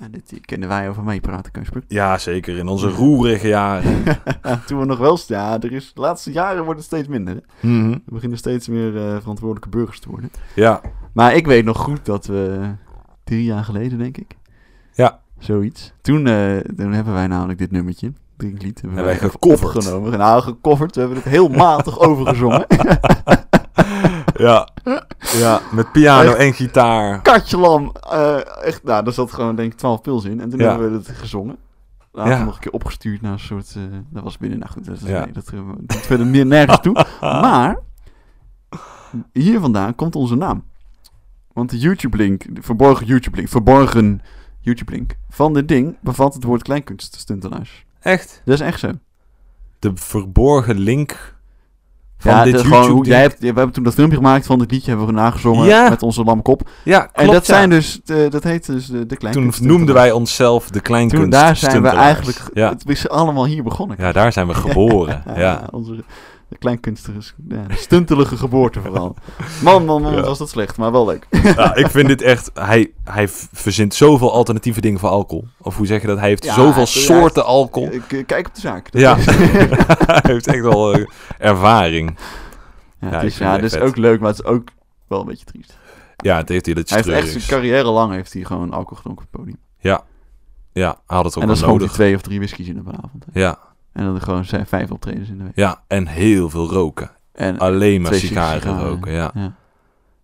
Speaker 2: Ja, dit kunnen wij over meepraten, Keusper.
Speaker 1: ja zeker. In onze roerige jaren.
Speaker 2: Toen we nog wel... st- Ja, er is, de laatste jaren wordt het steeds minder. Hè?
Speaker 1: Mhm.
Speaker 2: We beginnen steeds meer eh, verantwoordelijke burgers te worden.
Speaker 1: Ja,
Speaker 2: Maar ik weet nog goed dat we... Drie jaar geleden, denk ik.
Speaker 1: Ja.
Speaker 2: Zoiets. Toen, eh, toen hebben wij namelijk dit nummertje. Drinklied. Hebben
Speaker 1: Hebben wij
Speaker 2: even
Speaker 1: gecoverd.
Speaker 2: opgenomen. Nou, gecoverd. We hebben het heel matig overgezongen.
Speaker 1: ja. ja. Met piano
Speaker 2: Echt?
Speaker 1: en gitaar.
Speaker 2: Katjelam. eh, echt, nou, daar zat gewoon denk ik 12 pils in. En toen
Speaker 1: Ja.
Speaker 2: hebben we het gezongen. Later
Speaker 1: Ja.
Speaker 2: nog een keer opgestuurd naar een soort... eh, dat was binnen, nou goed, dat, is-
Speaker 1: Ja.
Speaker 2: nee, dat eh, doet verder meer nergens toe. Maar hier vandaan komt onze naam. Want de YouTube-link, de verborgen YouTube-link, verborgen YouTube-link van dit ding bevat het woord kleinkunststuntelaars.
Speaker 1: Echt?
Speaker 2: Dat is echt zo.
Speaker 1: De verborgen link van
Speaker 2: ja,
Speaker 1: dit
Speaker 2: dat is
Speaker 1: YouTube.
Speaker 2: gewoon, hoe- jij hebt, we hebben toen dat filmpje gemaakt van dit liedje, hebben we nagezongen
Speaker 1: Ja.
Speaker 2: met onze lamme kop.
Speaker 1: Ja, klopt,
Speaker 2: en dat
Speaker 1: ja.
Speaker 2: zijn dus, de, dat heet dus de, de
Speaker 1: Toen
Speaker 2: kleinkunststuntelaars.
Speaker 1: noemden wij onszelf de kleinkunst.
Speaker 2: Toen daar zijn we eigenlijk,
Speaker 1: Ja.
Speaker 2: het is allemaal hier begonnen.
Speaker 1: ja, daar zijn we geboren. ja.
Speaker 2: Onze de kleinkunstige, ja, de stuntelige geboorte vooral. Man, man, man,
Speaker 1: Ja.
Speaker 2: wat was dat slecht, maar wel leuk.
Speaker 1: Ja, ik vind dit echt... Hij, hij v- verzint zoveel alternatieve dingen voor alcohol. Of hoe zeg je dat? Hij heeft
Speaker 2: Ja,
Speaker 1: zoveel
Speaker 2: hij-
Speaker 1: soorten alcohol.
Speaker 2: Ik- ik Kijk op de zaak. Dat
Speaker 1: Ja.
Speaker 2: is-
Speaker 1: hij heeft echt wel eh, ervaring.
Speaker 2: ja,
Speaker 1: ik
Speaker 2: het
Speaker 1: vind
Speaker 2: is,
Speaker 1: het
Speaker 2: ja,
Speaker 1: echt
Speaker 2: dat is
Speaker 1: vet.
Speaker 2: ook leuk, maar het is ook wel een beetje triest.
Speaker 1: Ja, het heeft hier dat
Speaker 2: Hij heeft echt zijn
Speaker 1: treurigs.
Speaker 2: carrière lang heeft hij gewoon alcohol gedronken op het podium.
Speaker 1: Ja, hij had het ook wel
Speaker 2: en dan schonk hij
Speaker 1: nodig.
Speaker 2: twee of drie whiskies in op een avond. hè.
Speaker 1: Ja,
Speaker 2: En dan gewoon zijn vijf optredens in de week.
Speaker 1: ja, en heel veel roken.
Speaker 2: En,
Speaker 1: Alleen maar
Speaker 2: twee
Speaker 1: sigaren
Speaker 2: sigaren.
Speaker 1: roken, Ah, ja.
Speaker 2: ja.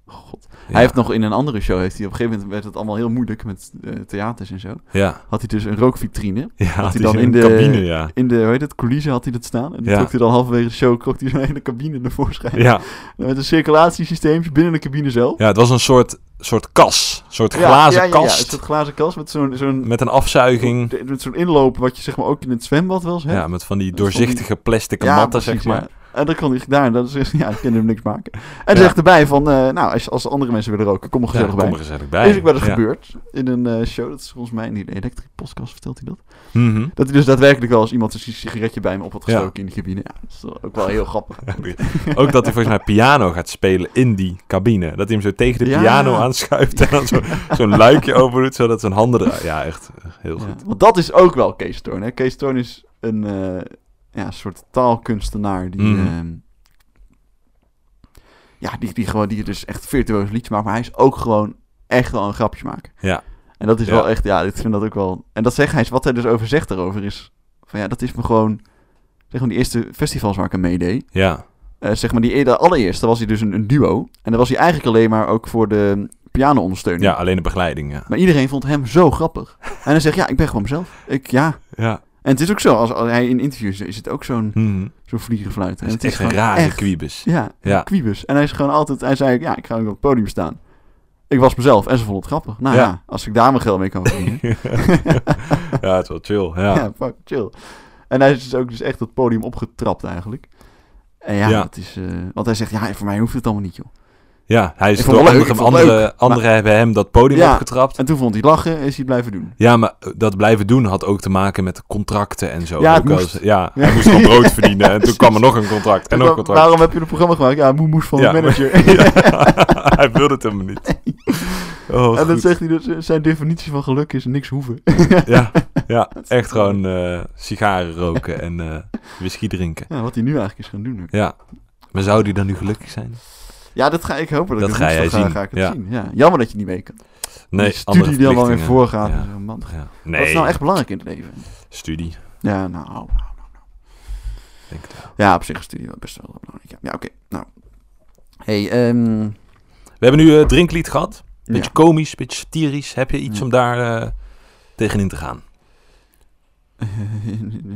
Speaker 2: God.
Speaker 1: Ja.
Speaker 2: Hij heeft nog in een andere show, heeft hij, op een gegeven moment werd het allemaal heel moeilijk met eh, theaters en zo.
Speaker 1: Ja,
Speaker 2: Had hij dus een rookvitrine.
Speaker 1: ja had
Speaker 2: hij
Speaker 1: hij
Speaker 2: dan
Speaker 1: in
Speaker 2: in
Speaker 1: de
Speaker 2: de-
Speaker 1: cabine, ja.
Speaker 2: In de, hoe heet het, coulissen had hij dat staan. En dan
Speaker 1: Ja.
Speaker 2: trok hij dan halverwege de show, trok hij zijn hele cabine naar voorschijn.
Speaker 1: Ja,
Speaker 2: Met een circulatiesysteem binnen de cabine zelf.
Speaker 1: ja het was een soort, soort kas. Een soort glazen
Speaker 2: ja, ja, Ja,
Speaker 1: kast
Speaker 2: het is een glazen kast met zo'n... zo'n
Speaker 1: met een afzuiging.
Speaker 2: met zo'n inloop wat je zeg maar ook in het zwembad wel eens hebt.
Speaker 1: Ja, met van die
Speaker 2: Met van die-
Speaker 1: doorzichtige plastic
Speaker 2: Ja,
Speaker 1: matten,
Speaker 2: precies,
Speaker 1: zeg maar.
Speaker 2: ja. En dat kon hij gedaan. Dat is, ja, ik kan hem niks maken. En
Speaker 1: Ja.
Speaker 2: zegt erbij van, eh, nou, als, als andere mensen willen roken, kom er
Speaker 1: Ja,
Speaker 2: gezellig bij.
Speaker 1: kom er gezellig bij.
Speaker 2: Is ook wel eens
Speaker 1: Ja.
Speaker 2: gebeurd in een eh, show. Dat is volgens mij in die elektrische podcast vertelt hij dat.
Speaker 1: Mhm.
Speaker 2: Dat hij dus daadwerkelijk wel eens iemand een sigaretje bij me op had
Speaker 1: Ja.
Speaker 2: gestoken in de cabine. Ja, dat is wel- ook wel heel grappig.
Speaker 1: Ook dat hij volgens mij piano gaat spelen in die cabine. Dat hij hem zo tegen de
Speaker 2: Ja.
Speaker 1: piano aanschuift en dan zo- zo'n luikje open doet, zodat zijn handen er... Ja, echt heel goed.
Speaker 2: Ja, Want dat is ook wel Kees Toorn. Hè? Kees Toorn is een eh, ja, soort taalkunstenaar die...
Speaker 1: Mhm.
Speaker 2: ehm, ja, die, die, gewoon, die dus echt virtuoos liedjes maakt. Maar hij is ook gewoon echt wel een grapje maken.
Speaker 1: Ja.
Speaker 2: En dat is
Speaker 1: Ja.
Speaker 2: wel echt... Ja, ik vind dat ook wel... En dat zegt hij is... Wat hij dus over zegt daarover is... Van ja, dat is me gewoon... Zeg maar die eerste festivals waar ik aan meedeed.
Speaker 1: Ja,
Speaker 2: Eh, zeg maar die de allereerste was hij dus een, een duo. En dan was hij eigenlijk alleen maar ook voor de piano-ondersteuning.
Speaker 1: ja alleen de begeleiding, ja.
Speaker 2: Maar iedereen vond hem zo grappig. En hij zegt, ja, ik ben gewoon mezelf. Ik, ja,
Speaker 1: Ja,
Speaker 2: en het is ook zo, als, als hij in interviews is het ook zo'n
Speaker 1: Mhm.
Speaker 2: zo'n vliegenfluit.
Speaker 1: Dat
Speaker 2: En
Speaker 1: is
Speaker 2: het is
Speaker 1: echt een
Speaker 2: gewoon
Speaker 1: rare
Speaker 2: echt-
Speaker 1: kwiebes.
Speaker 2: Ja,
Speaker 1: Ja.
Speaker 2: ja. kwiebus. En hij is gewoon altijd, hij zei, ja, ik ga ook op het podium staan. Ik was mezelf en ze vonden het grappig. Nou
Speaker 1: Ja.
Speaker 2: ja, als ik daar mijn geld mee kan verdienen.
Speaker 1: ja, het is wel chill, ja.
Speaker 2: ja. fuck, chill. En hij is dus ook dus echt het podium opgetrapt eigenlijk. En ja,
Speaker 1: Ja.
Speaker 2: dat is, eh, want hij zegt, ja, voor mij hoeft het allemaal niet, joh.
Speaker 1: Ja, hij is
Speaker 2: Ik vond
Speaker 1: door
Speaker 2: het leuk,
Speaker 1: andere,
Speaker 2: ik vond het
Speaker 1: andere, anderen hebben hem dat podium
Speaker 2: Ja.
Speaker 1: opgetrapt.
Speaker 2: En toen vond hij het lachen en is hij het blijven doen.
Speaker 1: Ja, maar eh, dat blijven doen had ook te maken met de contracten en zo.
Speaker 2: Ja, het
Speaker 1: Ook wel
Speaker 2: moest.
Speaker 1: eens- ja hij
Speaker 2: Ja.
Speaker 1: moest nog brood verdienen en toen
Speaker 2: Precies.
Speaker 1: kwam er nog een contract en nog een
Speaker 2: Wa-
Speaker 1: contract.
Speaker 2: Waarom heb je een programma gemaakt? Ja, moe moest van
Speaker 1: Ja.
Speaker 2: de manager.
Speaker 1: Ja, hij wilde het helemaal niet. Oh,
Speaker 2: en dan
Speaker 1: goed.
Speaker 2: zegt hij dus, eh, zijn definitie van geluk is niks hoeven.
Speaker 1: ja, ja, echt gewoon eh, sigaren roken en eh, whisky drinken.
Speaker 2: Ja, wat hij nu eigenlijk is gaan doen. ook.
Speaker 1: Ja. Maar zou die dan nu gelukkig zijn?
Speaker 2: Ja, dat ga ik hopen. Dat,
Speaker 1: Dat
Speaker 2: ik
Speaker 1: ga
Speaker 2: het
Speaker 1: jij
Speaker 2: woensdag ga,
Speaker 1: zien,
Speaker 2: ga ik het
Speaker 1: ja.
Speaker 2: zien. Ja. Jammer dat je niet mee kan.
Speaker 1: Nee,
Speaker 2: die studie die allemaal in
Speaker 1: voor
Speaker 2: voorgaat.
Speaker 1: Ja.
Speaker 2: en zo, Man,
Speaker 1: Ja.
Speaker 2: Wat is
Speaker 1: Nee,
Speaker 2: nou echt belangrijk in het leven?
Speaker 1: studie.
Speaker 2: Ja, nou, nou, nou, nou.
Speaker 1: Denk het wel.
Speaker 2: Ja, op zich is studie wel best wel belangrijk. Ja, ja oké. Nou. Hey, ehm
Speaker 1: We hebben nu eh, drinklied gehad. Beetje
Speaker 2: ja.
Speaker 1: komisch, beetje satirisch. Heb je iets
Speaker 2: Ja.
Speaker 1: om daar eh, tegenin te gaan?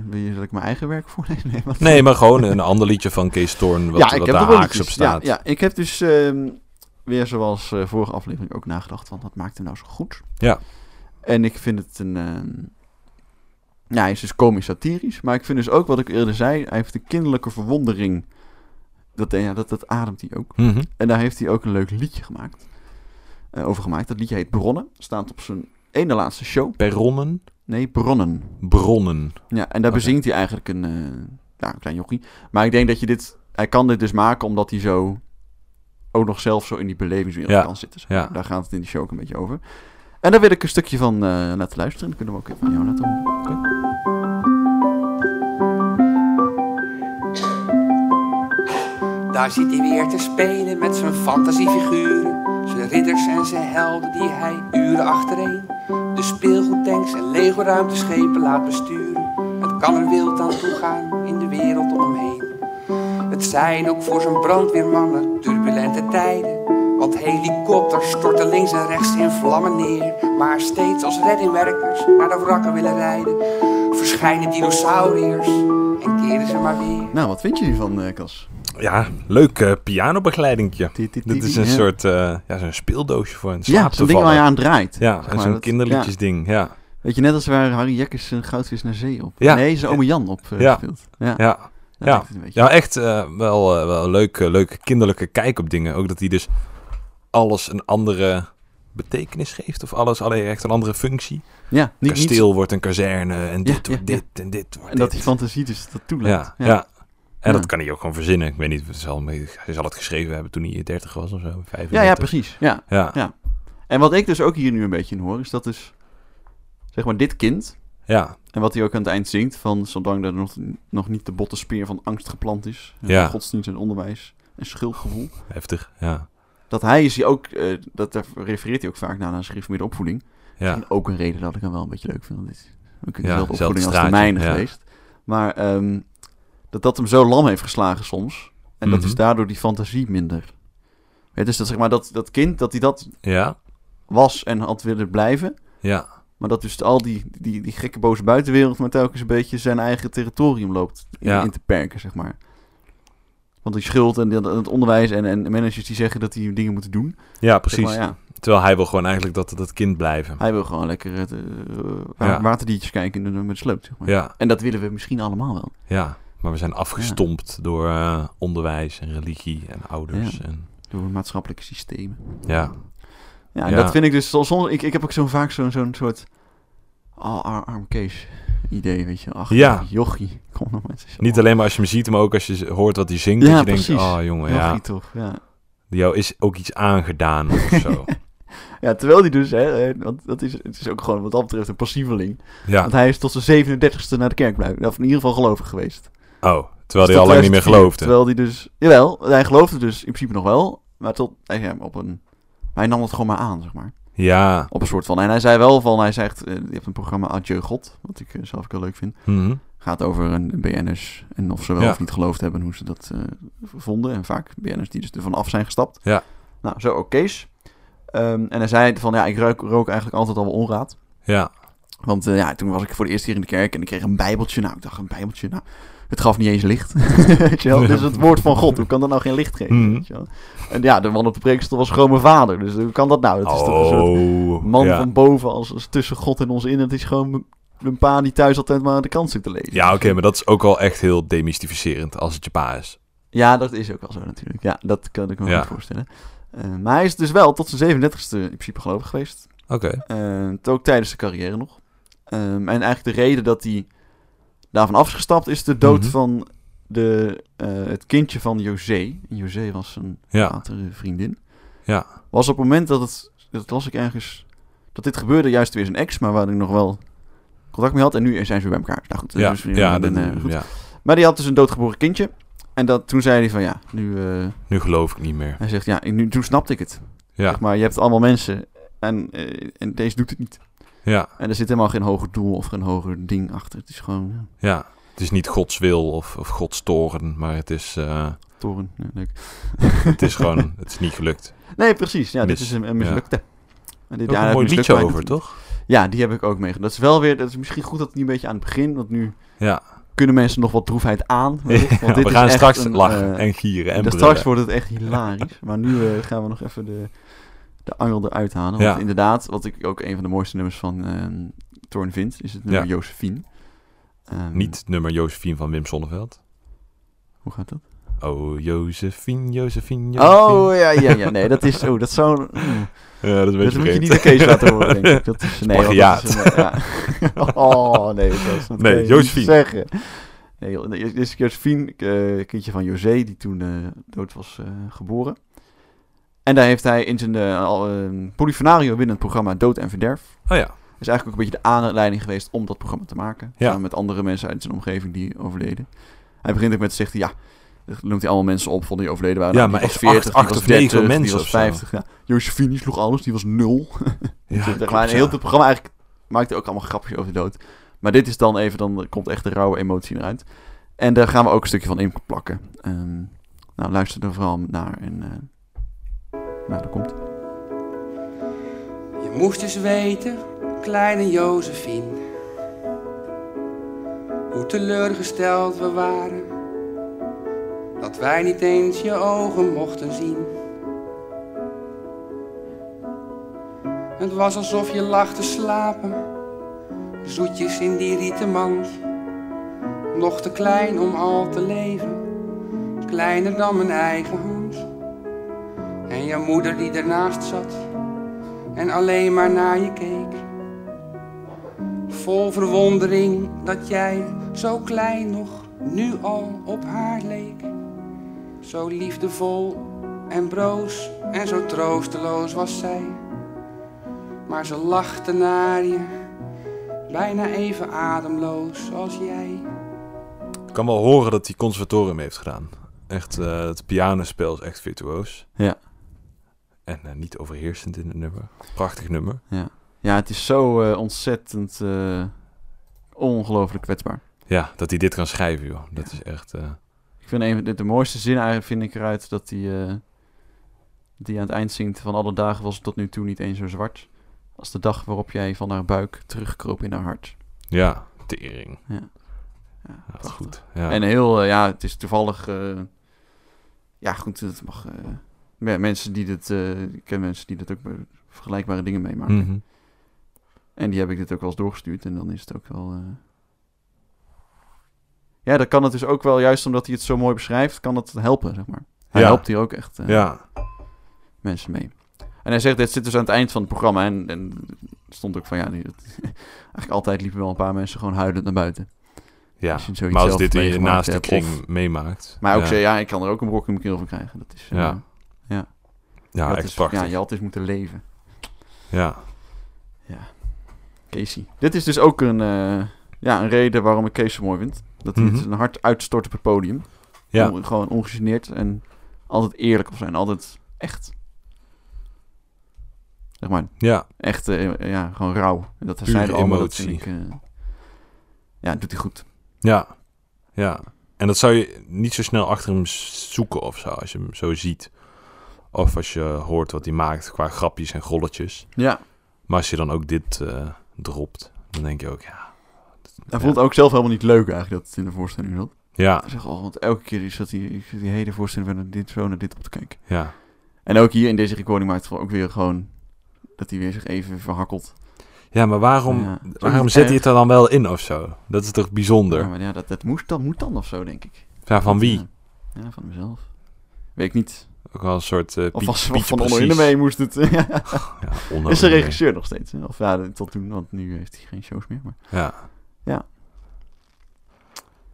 Speaker 2: Wil je dat ik mijn eigen werk voorlezen? Nee, wat-
Speaker 1: Nee, maar gewoon een ander liedje van Kees Thorn, wat,
Speaker 2: ja,
Speaker 1: wat
Speaker 2: ik heb
Speaker 1: daar
Speaker 2: er wel
Speaker 1: haaks op
Speaker 2: liedjes.
Speaker 1: staat.
Speaker 2: Ja, ja, ik heb dus ehm, weer zoals eh, vorige aflevering ook nagedacht van wat maakt hem nou zo goed?
Speaker 1: Ja.
Speaker 2: En ik vind het een... ehm, ja, hij is dus komisch satirisch, maar ik vind dus ook wat ik eerder zei, hij heeft een kinderlijke verwondering. Dat, eh, ja, dat, dat ademt hij ook.
Speaker 1: Mhm.
Speaker 2: En daar heeft hij ook een leuk liedje gemaakt. eh, over gemaakt. Dat liedje heet Bronnen. Staat op zijn ene laatste show.
Speaker 1: Perronnen,
Speaker 2: Nee, Bronnen.
Speaker 1: bronnen.
Speaker 2: Ja, en daar
Speaker 1: Oké.
Speaker 2: bezingt hij eigenlijk een, eh, nou, een klein jochie. Maar ik denk dat je dit... Hij kan dit dus maken omdat hij zo... ook nog zelf zo in die belevingswereld
Speaker 1: Ja,
Speaker 2: kan zitten.
Speaker 1: ja.
Speaker 2: Daar gaat het in de show ook een beetje over. En daar wil ik een stukje van eh, laten luisteren. Dan kunnen we ook even aan jou laten horen.
Speaker 3: Daar zit hij weer te spelen met zijn fantasiefiguren. Zijn ridders en zijn helden die hij uren achtereen. De speelgoedtanks en Lego-ruimteschepen laat besturen. Het kan er wild aan toe gaan in de wereld om hem heen. Het zijn ook voor zijn brandweermannen turbulente tijden. Want helikopters storten links en rechts in vlammen neer. Maar steeds als reddingwerkers naar de wrakken willen rijden, verschijnen dinosauriërs en keren ze maar weer.
Speaker 2: Nou, wat vind je hiervan, eh, Cas?
Speaker 1: Ja, leuk eh, pianobegeleidingje.
Speaker 2: Ti- ti- ti-
Speaker 1: Dit is een
Speaker 2: ja.
Speaker 1: soort eh, ja, zo'n speeldoosje voor een
Speaker 2: Ja,
Speaker 1: slaap
Speaker 2: zo'n
Speaker 1: te
Speaker 2: ding waar
Speaker 1: vallen.
Speaker 2: je aan draait.
Speaker 1: Ja,
Speaker 2: Zeg
Speaker 1: en
Speaker 2: maar,
Speaker 1: zo'n
Speaker 2: dat- ja.
Speaker 1: kinderliedjesding. Ja.
Speaker 2: Weet je, net als waar Harry Jekkers een goudvis naar zee op...
Speaker 1: Ja.
Speaker 2: Nee, zijn ome Jan op eh,
Speaker 1: Ja.
Speaker 2: speelt. Ja,
Speaker 1: Ja.
Speaker 2: dat
Speaker 1: Ja.
Speaker 2: lijkt het een beetje.
Speaker 1: ja, echt eh, wel, eh, wel een leuke, leuke kinderlijke kijk op dingen. Ook dat hij dus alles een andere betekenis geeft. Of alles alleen echt een andere functie.
Speaker 2: Ja, niet, niet
Speaker 1: Kasteel wordt een kazerne en
Speaker 2: Ja,
Speaker 1: dit wordt
Speaker 2: ja,
Speaker 1: dit en dit wordt
Speaker 2: En dat die
Speaker 1: dit.
Speaker 2: fantasie dus dat toelaat.
Speaker 1: Ja, ja. En
Speaker 2: Ja.
Speaker 1: dat kan hij ook gewoon verzinnen. Ik weet niet, het zal, hij zal het geschreven hebben toen hij 30 was of zo. 35.
Speaker 2: ja, ja, precies. Ja.
Speaker 1: Ja, ja.
Speaker 2: Ja. En wat ik dus ook hier nu een beetje in hoor, is dat dus... Zeg maar, dit kind...
Speaker 1: ja.
Speaker 2: En wat hij ook aan het eind zingt, van zolang er nog, nog niet de botte speer van angst geplant is. en
Speaker 1: Ja.
Speaker 2: Godsdienst en onderwijs en schuldgevoel.
Speaker 1: heftig. Ja,
Speaker 2: Dat hij is hier ook, eh, dat daar refereert hij ook vaak naar, naar zijn gereformeerde opvoeding.
Speaker 1: ja.
Speaker 2: En ook een reden dat ik hem wel een beetje leuk vind. want Dit is ook in
Speaker 1: Ja,
Speaker 2: dezelfde
Speaker 1: hetzelfde
Speaker 2: opvoeding als de
Speaker 1: straatje,
Speaker 2: mijne
Speaker 1: ja.
Speaker 2: geweest. Maar ehm, dat dat hem zo lam heeft geslagen soms. En dat
Speaker 1: Mhm.
Speaker 2: is daardoor die fantasie minder. Het is dat zeg maar dat, dat kind, dat hij dat
Speaker 1: ja.
Speaker 2: was en had willen blijven.
Speaker 1: ja.
Speaker 2: Maar dat dus al die, die, die gekke boze buitenwereld maar telkens een beetje zijn eigen territorium loopt in,
Speaker 1: Ja.
Speaker 2: in te perken, zeg maar. Want die schuld en dat- het onderwijs en, en managers die zeggen dat die dingen moeten doen.
Speaker 1: Ja,
Speaker 2: Zeg
Speaker 1: precies.
Speaker 2: maar, ja,
Speaker 1: Terwijl hij wil gewoon eigenlijk dat dat kind blijven.
Speaker 2: hij wil gewoon lekker het, eh, wa-
Speaker 1: Ja.
Speaker 2: waterdiertjes kijken en doen met de sloot, zeg maar.
Speaker 1: Ja,
Speaker 2: En dat willen we misschien allemaal wel.
Speaker 1: ja. Maar we zijn afgestompt door eh, onderwijs en religie en ouders. Ja, en,
Speaker 2: door maatschappelijke systemen.
Speaker 1: ja.
Speaker 2: Ja, en
Speaker 1: Ja.
Speaker 2: dat vind ik dus soms. Ik, ik heb ook zo vaak zo'n zo'n soort. Oh, ar- arm Kees idee, weet je. Ach,
Speaker 1: Ja.
Speaker 2: ja. jochie. Kom nou mensen.
Speaker 1: niet alleen maar als je hem ziet, maar ook als je z- hoort wat hij zingt.
Speaker 2: Ja,
Speaker 1: dat je denkt,
Speaker 2: precies.
Speaker 1: oh jongen, ja,
Speaker 2: Jochie toch, ja.
Speaker 1: jou is ook iets aangedaan of zo.
Speaker 2: Ja, terwijl die dus, hè, eh, want dat is, het is ook gewoon wat dat betreft een passieveling.
Speaker 1: ja.
Speaker 2: Want hij is tot zijn 37ste naar de kerk blijven, of in ieder geval gelovig geweest.
Speaker 1: Oh, terwijl
Speaker 2: Dus
Speaker 1: hij al
Speaker 2: tot
Speaker 1: lang niet meer
Speaker 2: 2004,
Speaker 1: geloofde.
Speaker 2: Terwijl hij dus, jawel, hij geloofde dus in principe nog wel, maar tot, hij, ja, op een, hij nam het gewoon maar aan, zeg maar.
Speaker 1: Ja.
Speaker 2: Op een soort van, en hij zei wel van, hij zegt, eh, je hebt een programma Adieu God, wat ik eh, zelf ook heel leuk vind.
Speaker 1: Mhm.
Speaker 2: Gaat over een BN'ers en of ze wel
Speaker 1: Ja.
Speaker 2: of niet geloofd hebben en hoe ze dat eh, vonden. En vaak BN'ers die dus ervan af zijn gestapt.
Speaker 1: Ja.
Speaker 2: Nou, zo ook Kees. Ehm, en hij zei van, ja, ik rook, rook eigenlijk altijd al wel onraad.
Speaker 1: Ja.
Speaker 2: Want eh, ja, toen was ik voor de eerste keer in de kerk en ik kreeg een bijbeltje. Nou, ik dacht, een bijbeltje, nou, het gaf niet eens licht. weet je wel? Dit is het woord van God, hoe kan dat nou geen licht geven?
Speaker 1: Mhm.
Speaker 2: Weet je wel? En ja, de man op de preekstoel was gewoon mijn vader, dus hoe kan dat nou? Dat is toch een soort
Speaker 1: Oh.
Speaker 2: man
Speaker 1: ja.
Speaker 2: van boven als, als tussen God en ons in. Het is gewoon m- mijn pa die thuis altijd maar aan de kant zit te lezen.
Speaker 1: Ja, oké, maar dat is ook wel echt heel demystificerend als het je pa is.
Speaker 2: Ja, dat is ook wel zo natuurlijk. Ja, dat kan ik me
Speaker 1: Ja.
Speaker 2: goed voorstellen. Eh, maar hij is dus wel tot zijn 37ste in principe gelovig geweest.
Speaker 1: Oké.
Speaker 2: Eh, t- ook tijdens de carrière nog. Ehm, en eigenlijk de reden dat hij daarvan afgestapt is de dood
Speaker 1: Mhm.
Speaker 2: van de, eh, het kindje van José. En José was een
Speaker 1: Ja.
Speaker 2: latere vriendin.
Speaker 1: Ja.
Speaker 2: Was op het moment dat het, dat las ik ergens, dat dit gebeurde juist weer zijn ex, maar waar ik nog wel contact mee had. En nu zijn ze weer bij elkaar. Nou goed,
Speaker 1: Ja.
Speaker 2: dus weer-
Speaker 1: Ja,
Speaker 2: en,
Speaker 1: dat,
Speaker 2: eh, goed.
Speaker 1: ja.
Speaker 2: Maar die had dus een doodgeboren kindje. En dat, toen zei hij van ja, nu, eh,
Speaker 1: Nu geloof ik niet meer.
Speaker 2: hij zegt ja, ik- nu, toen snapte ik het.
Speaker 1: Ja.
Speaker 2: Zeg maar je hebt allemaal mensen en, eh, en deze doet het niet.
Speaker 1: Ja.
Speaker 2: En er zit helemaal geen hoger doel of geen hoger ding achter. Het is gewoon ja,
Speaker 1: Ja. Het is niet Gods wil of, of Gods toren, maar het is, eh,
Speaker 2: toren. Ja, leuk.
Speaker 1: het is gewoon, het is niet gelukt.
Speaker 2: Nee, precies. Ja,
Speaker 1: Mis.
Speaker 2: dit is een, een mislukte. En dit,
Speaker 1: Ook
Speaker 2: ja,
Speaker 1: een
Speaker 2: het
Speaker 1: mooi
Speaker 2: mislukt
Speaker 1: liedje
Speaker 2: mij
Speaker 1: over,
Speaker 2: natuurlijk.
Speaker 1: toch?
Speaker 2: Ja, die heb ik ook meegedaan. Dat is wel weer, dat is misschien goed dat het niet een beetje aan het begin, want nu
Speaker 1: Ja.
Speaker 2: kunnen mensen nog wat droefheid aan. wellicht, Want
Speaker 1: Ja,
Speaker 2: dit
Speaker 1: we
Speaker 2: is
Speaker 1: gaan
Speaker 2: echt
Speaker 1: straks
Speaker 2: een,
Speaker 1: lachen
Speaker 2: eh,
Speaker 1: en gieren en
Speaker 2: dus
Speaker 1: brullen.
Speaker 2: straks wordt het echt hilarisch. Maar nu eh, gaan we nog even de, de angel eruit halen. Want
Speaker 1: Ja.
Speaker 2: inderdaad, wat ik ook een van de mooiste nummers van ehm Thorn vind, is het nummer
Speaker 1: Ja.
Speaker 2: Josephine. Ehm,
Speaker 1: Niet het nummer Josephine van Wim Sonneveld.
Speaker 2: Hoe gaat dat?
Speaker 1: Oh, Josephine, Josephine, Josephine.
Speaker 2: Oh, ja, ja, ja. Nee, dat is... Oh, dat zou... mm.
Speaker 1: ja, dat is een
Speaker 2: Dat
Speaker 1: beetje
Speaker 2: moet je
Speaker 1: vreemd.
Speaker 2: niet de Kees laten horen, denk ik. Dat is, nee, want dat is een, ja. Oh, nee, dat is
Speaker 1: Nee, Josephine.
Speaker 2: zeggen. Nee, joh, nee, dit is Josephine, eh, kindje van José, die toen eh, dood was eh, geboren. En daar heeft hij in zijn eh, al, eh, polyfonario binnen het programma Dood en Verderf.
Speaker 1: Oh ja.
Speaker 2: is eigenlijk ook een beetje de aanleiding geweest om dat programma te maken.
Speaker 1: Ja.
Speaker 2: Samen met andere mensen uit zijn omgeving die overleden. Hij begint ook met te zeggen, ja, dat noemt hij allemaal mensen op van die overleden waren.
Speaker 1: Ja,
Speaker 2: Nou,
Speaker 1: maar
Speaker 2: die
Speaker 1: echt
Speaker 2: was
Speaker 1: acht-
Speaker 2: 40, die
Speaker 1: acht
Speaker 2: was
Speaker 1: of negen
Speaker 2: 30,
Speaker 1: mensen
Speaker 2: Die
Speaker 1: of
Speaker 2: was
Speaker 1: zo.
Speaker 2: 50, ja. Josephine die sloeg alles, die was nul.
Speaker 1: ja
Speaker 2: Zeg
Speaker 1: klopt,
Speaker 2: maar, en
Speaker 1: ja.
Speaker 2: heel het programma eigenlijk maakt ook allemaal grapjes over de dood. Maar dit is dan even, dan komt echt de rauwe emotie eruit. En daar gaan we ook een stukje van in plakken. Ehm, nou, luister er vooral naar. En, eh, nou, daar komt.
Speaker 3: Je moest eens weten, kleine Josephine, hoe teleurgesteld we waren. Dat wij niet eens je ogen mochten zien. Het was alsof je lag te slapen, zoetjes in die rieten mand. Nog te klein om al te leven, kleiner dan mijn eigen hand. En je moeder die ernaast zat, en alleen maar naar je keek. Vol verwondering dat jij zo klein nog nu al op haar leek. Zo liefdevol en broos en zo troosteloos was zij. Maar ze lachte naar je, bijna even ademloos als jij.
Speaker 1: Ik kan wel horen dat hij conservatorium heeft gedaan. Echt, eh, het pianospel is echt virtuoos.
Speaker 2: Ja.
Speaker 1: En eh, niet overheersend in het nummer. Prachtig nummer.
Speaker 2: Ja, het is zo eh, ontzettend eh, ongelooflijk kwetsbaar.
Speaker 1: Ja, dat hij dit kan schrijven, joh. Dat is echt... eh,
Speaker 2: Ik vind een, de, de mooiste zin eigenlijk vind ik eruit dat die, eh, die aan het eind zingt van alle dagen was het tot nu toe niet eens zo zwart. Als de dag waarop jij van haar buik terugkroop in haar hart.
Speaker 1: ja, tering.
Speaker 2: Ja,
Speaker 1: Ja, dat is
Speaker 2: prachtig.
Speaker 1: goed. Ja.
Speaker 2: En heel, eh, ja, het is toevallig. eh, ja, goed, dat mag. eh, ja, mensen die dit. eh, ik ken mensen die dat ook be- vergelijkbare dingen meemaken.
Speaker 1: Mhm.
Speaker 2: En die heb ik dit ook wel eens doorgestuurd. En dan is het ook wel. eh, Ja, dan kan het dus ook wel, juist omdat hij het zo mooi beschrijft, kan het helpen, zeg maar. Hij
Speaker 1: Ja.
Speaker 2: helpt hier ook echt eh,
Speaker 1: Ja,
Speaker 2: mensen mee. En hij zegt, dit zit dus aan het eind van het programma. En, en stond ook van, ja, die- eigenlijk altijd liepen wel een paar mensen gewoon huilend naar buiten.
Speaker 1: ja.
Speaker 2: Als je zoiets
Speaker 1: Maar als
Speaker 2: zelf
Speaker 1: dit in je
Speaker 2: meegemaakt
Speaker 1: naaste
Speaker 2: hebt,
Speaker 1: kring
Speaker 2: of-
Speaker 1: meemaakt.
Speaker 2: Maar ook
Speaker 1: ja.
Speaker 2: zei, ja, ik kan er ook een brok in mijn keel van krijgen. Dat is, eh,
Speaker 1: Ja.
Speaker 2: dat
Speaker 1: Ja, echt
Speaker 2: is
Speaker 1: prachtig.
Speaker 2: ja, je had eens moeten leven.
Speaker 1: Ja.
Speaker 2: Casey. Dit is dus ook een, eh, ja, een reden waarom ik Kees zo mooi vind. Dat hij
Speaker 1: Mhm.
Speaker 2: het een hart uitstort op het podium.
Speaker 1: Ja.
Speaker 2: On- gewoon ongegeneerd en altijd eerlijk op zijn. Altijd echt. Zeg maar,
Speaker 1: ja.
Speaker 2: echt, eh, ja, gewoon rauw. En Dat
Speaker 1: Pure
Speaker 2: zijn allemaal, dat vind ik...
Speaker 1: emotie.
Speaker 2: eh, ja, doet hij goed.
Speaker 1: Ja, ja. En dat zou je niet zo snel achter hem zoeken of zo, als je hem zo ziet. Of als je hoort wat hij maakt qua grapjes en golletjes.
Speaker 2: Ja,
Speaker 1: Maar als je dan ook dit eh, dropt, dan denk je ook, ja.
Speaker 2: hij vond het ook zelf helemaal niet leuk eigenlijk dat het in de voorstelling zat.
Speaker 1: Ja,
Speaker 2: Zeg, oh, want elke keer is dat die, ik zit die hele voorstelling van dit zo naar dit op te kijken.
Speaker 1: ja.
Speaker 2: En ook hier in deze recording maakt het ook weer gewoon dat hij weer zich even verhakkelt.
Speaker 1: Ja, maar waarom,
Speaker 2: Ja.
Speaker 1: waarom
Speaker 2: Erg.
Speaker 1: zet hij het er dan wel in of zo? Dat is toch
Speaker 2: Ja,
Speaker 1: bijzonder?
Speaker 2: maar ja, dat, dat, moest, dat moet dan of zo, denk ik. eh,
Speaker 1: Ja, van wie?
Speaker 2: Ja, ja, van mezelf. Weet ik niet.
Speaker 1: Ook wel een soort eh
Speaker 2: Of
Speaker 1: Piet-
Speaker 2: was
Speaker 1: Pietje
Speaker 2: van onderin
Speaker 1: Precies.
Speaker 2: mee moest het. Ja.
Speaker 1: Ja, onder
Speaker 2: is de
Speaker 1: Onderin mee.
Speaker 2: regisseur nog steeds. hè? Of ja, tot toen, want nu heeft hij geen shows meer. Maar...
Speaker 1: Ja.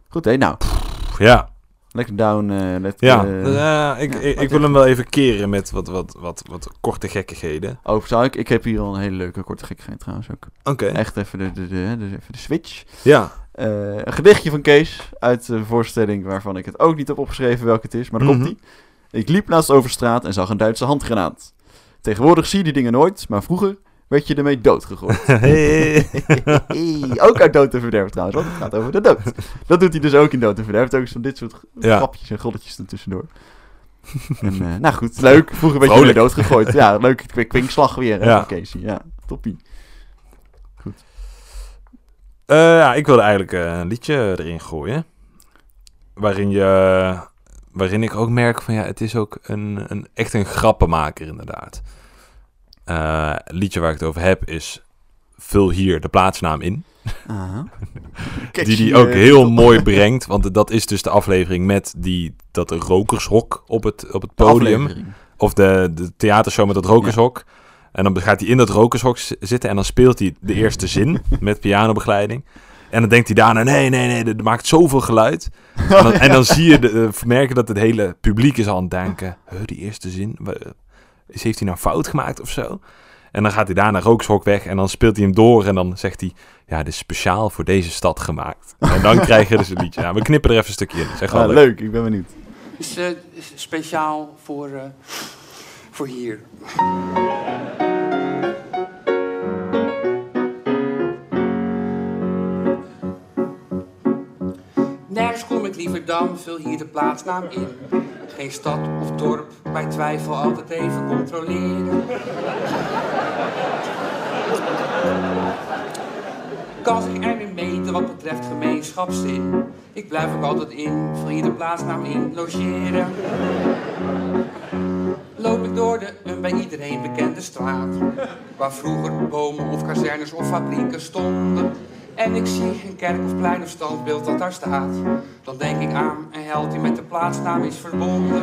Speaker 2: Goed, hé, nou.
Speaker 1: Pff, Ja,
Speaker 2: Lekker down. eh let,
Speaker 1: ja.
Speaker 2: eh,
Speaker 1: Eh, ik, ik,
Speaker 2: ja,
Speaker 1: ik
Speaker 2: laat
Speaker 1: wil hem wel even keren met wat, wat, wat, wat korte gekkigheden.
Speaker 2: oh, zou ik? Ik heb hier al een hele leuke korte gekkigheid trouwens ook.
Speaker 1: Oké,
Speaker 2: Echt even de, de, de, hè, dus even de switch.
Speaker 1: ja.
Speaker 2: Eh, een gedichtje van Kees uit de voorstelling waarvan ik het ook niet heb opgeschreven welke het is, maar daar
Speaker 1: Mhm.
Speaker 2: komt ie. Ik liep laatst over straat en zag een Duitse handgranaat. Tegenwoordig zie je die dingen nooit, maar vroeger werd je ermee doodgegooid.
Speaker 1: Hey.
Speaker 2: Hey, ook uit Dood en Verderf trouwens, want het gaat over de dood. Dat doet hij dus ook in Dood en Verderf. Ook zo'n dit soort g-
Speaker 1: Ja.
Speaker 2: grapjes en golletjes ertussendoor. en, eh, nou goed, leuk. Vroeger werd je ermee
Speaker 1: Vrolijk.
Speaker 2: doodgegooid. Ja, leuk. Kwik- Kwinkslag weer hè,
Speaker 1: Ja.
Speaker 2: van Casey. Ja, toppie.
Speaker 1: Eh, ja, ik wilde eigenlijk eh, een liedje erin gooien. Waarin je. Waarin ik ook merk van ja, het is ook een, een, echt een grappenmaker, inderdaad. Eh, het liedje waar ik het over heb is. Vul hier de plaatsnaam in.
Speaker 2: Aha.
Speaker 1: Die
Speaker 2: Catchy,
Speaker 1: die ook
Speaker 2: eh,
Speaker 1: heel mooi brengt. Want dat is dus de aflevering met die, dat rokershok op het, op het podium.
Speaker 2: aflevering.
Speaker 1: Of de, de theatershow met dat rokershok. En dan gaat hij in dat rokershok z- zitten en dan speelt hij de eerste zin met pianobegeleiding. En dan denkt hij daarna, nee, nee, nee, dat maakt zoveel geluid. En dan, en dan zie je, de, de- merken dat het hele publiek is aan het denken, huh, die eerste zin, wa- is, heeft hij nou fout gemaakt of zo? En dan gaat hij daarna rokershok weg en dan speelt hij hem door en dan zegt hij, ja, dit is speciaal voor deze stad gemaakt. En dan krijg je dus een liedje. Ja, we knippen er even een stukje in, dat is echt wel
Speaker 2: Ah,
Speaker 1: leuk.
Speaker 2: leuk, ik ben benieuwd.
Speaker 4: is eh, is speciaal voor, eh, voor hier. Nergens kom ik liever dan, vul hier de plaatsnaam in. Geen stad of dorp, bij twijfel altijd even controleren. kan zich ermee meten wat betreft gemeenschapszin. Ik blijf ook altijd in, vul hier de plaatsnaam in, logeren. Loop ik door de een bij iedereen bekende straat, waar vroeger bomen of kazernes of fabrieken stonden. En ik zie een kerk of plein of standbeeld dat daar staat. Dan denk ik aan een held die met de plaatsnaam is verbonden.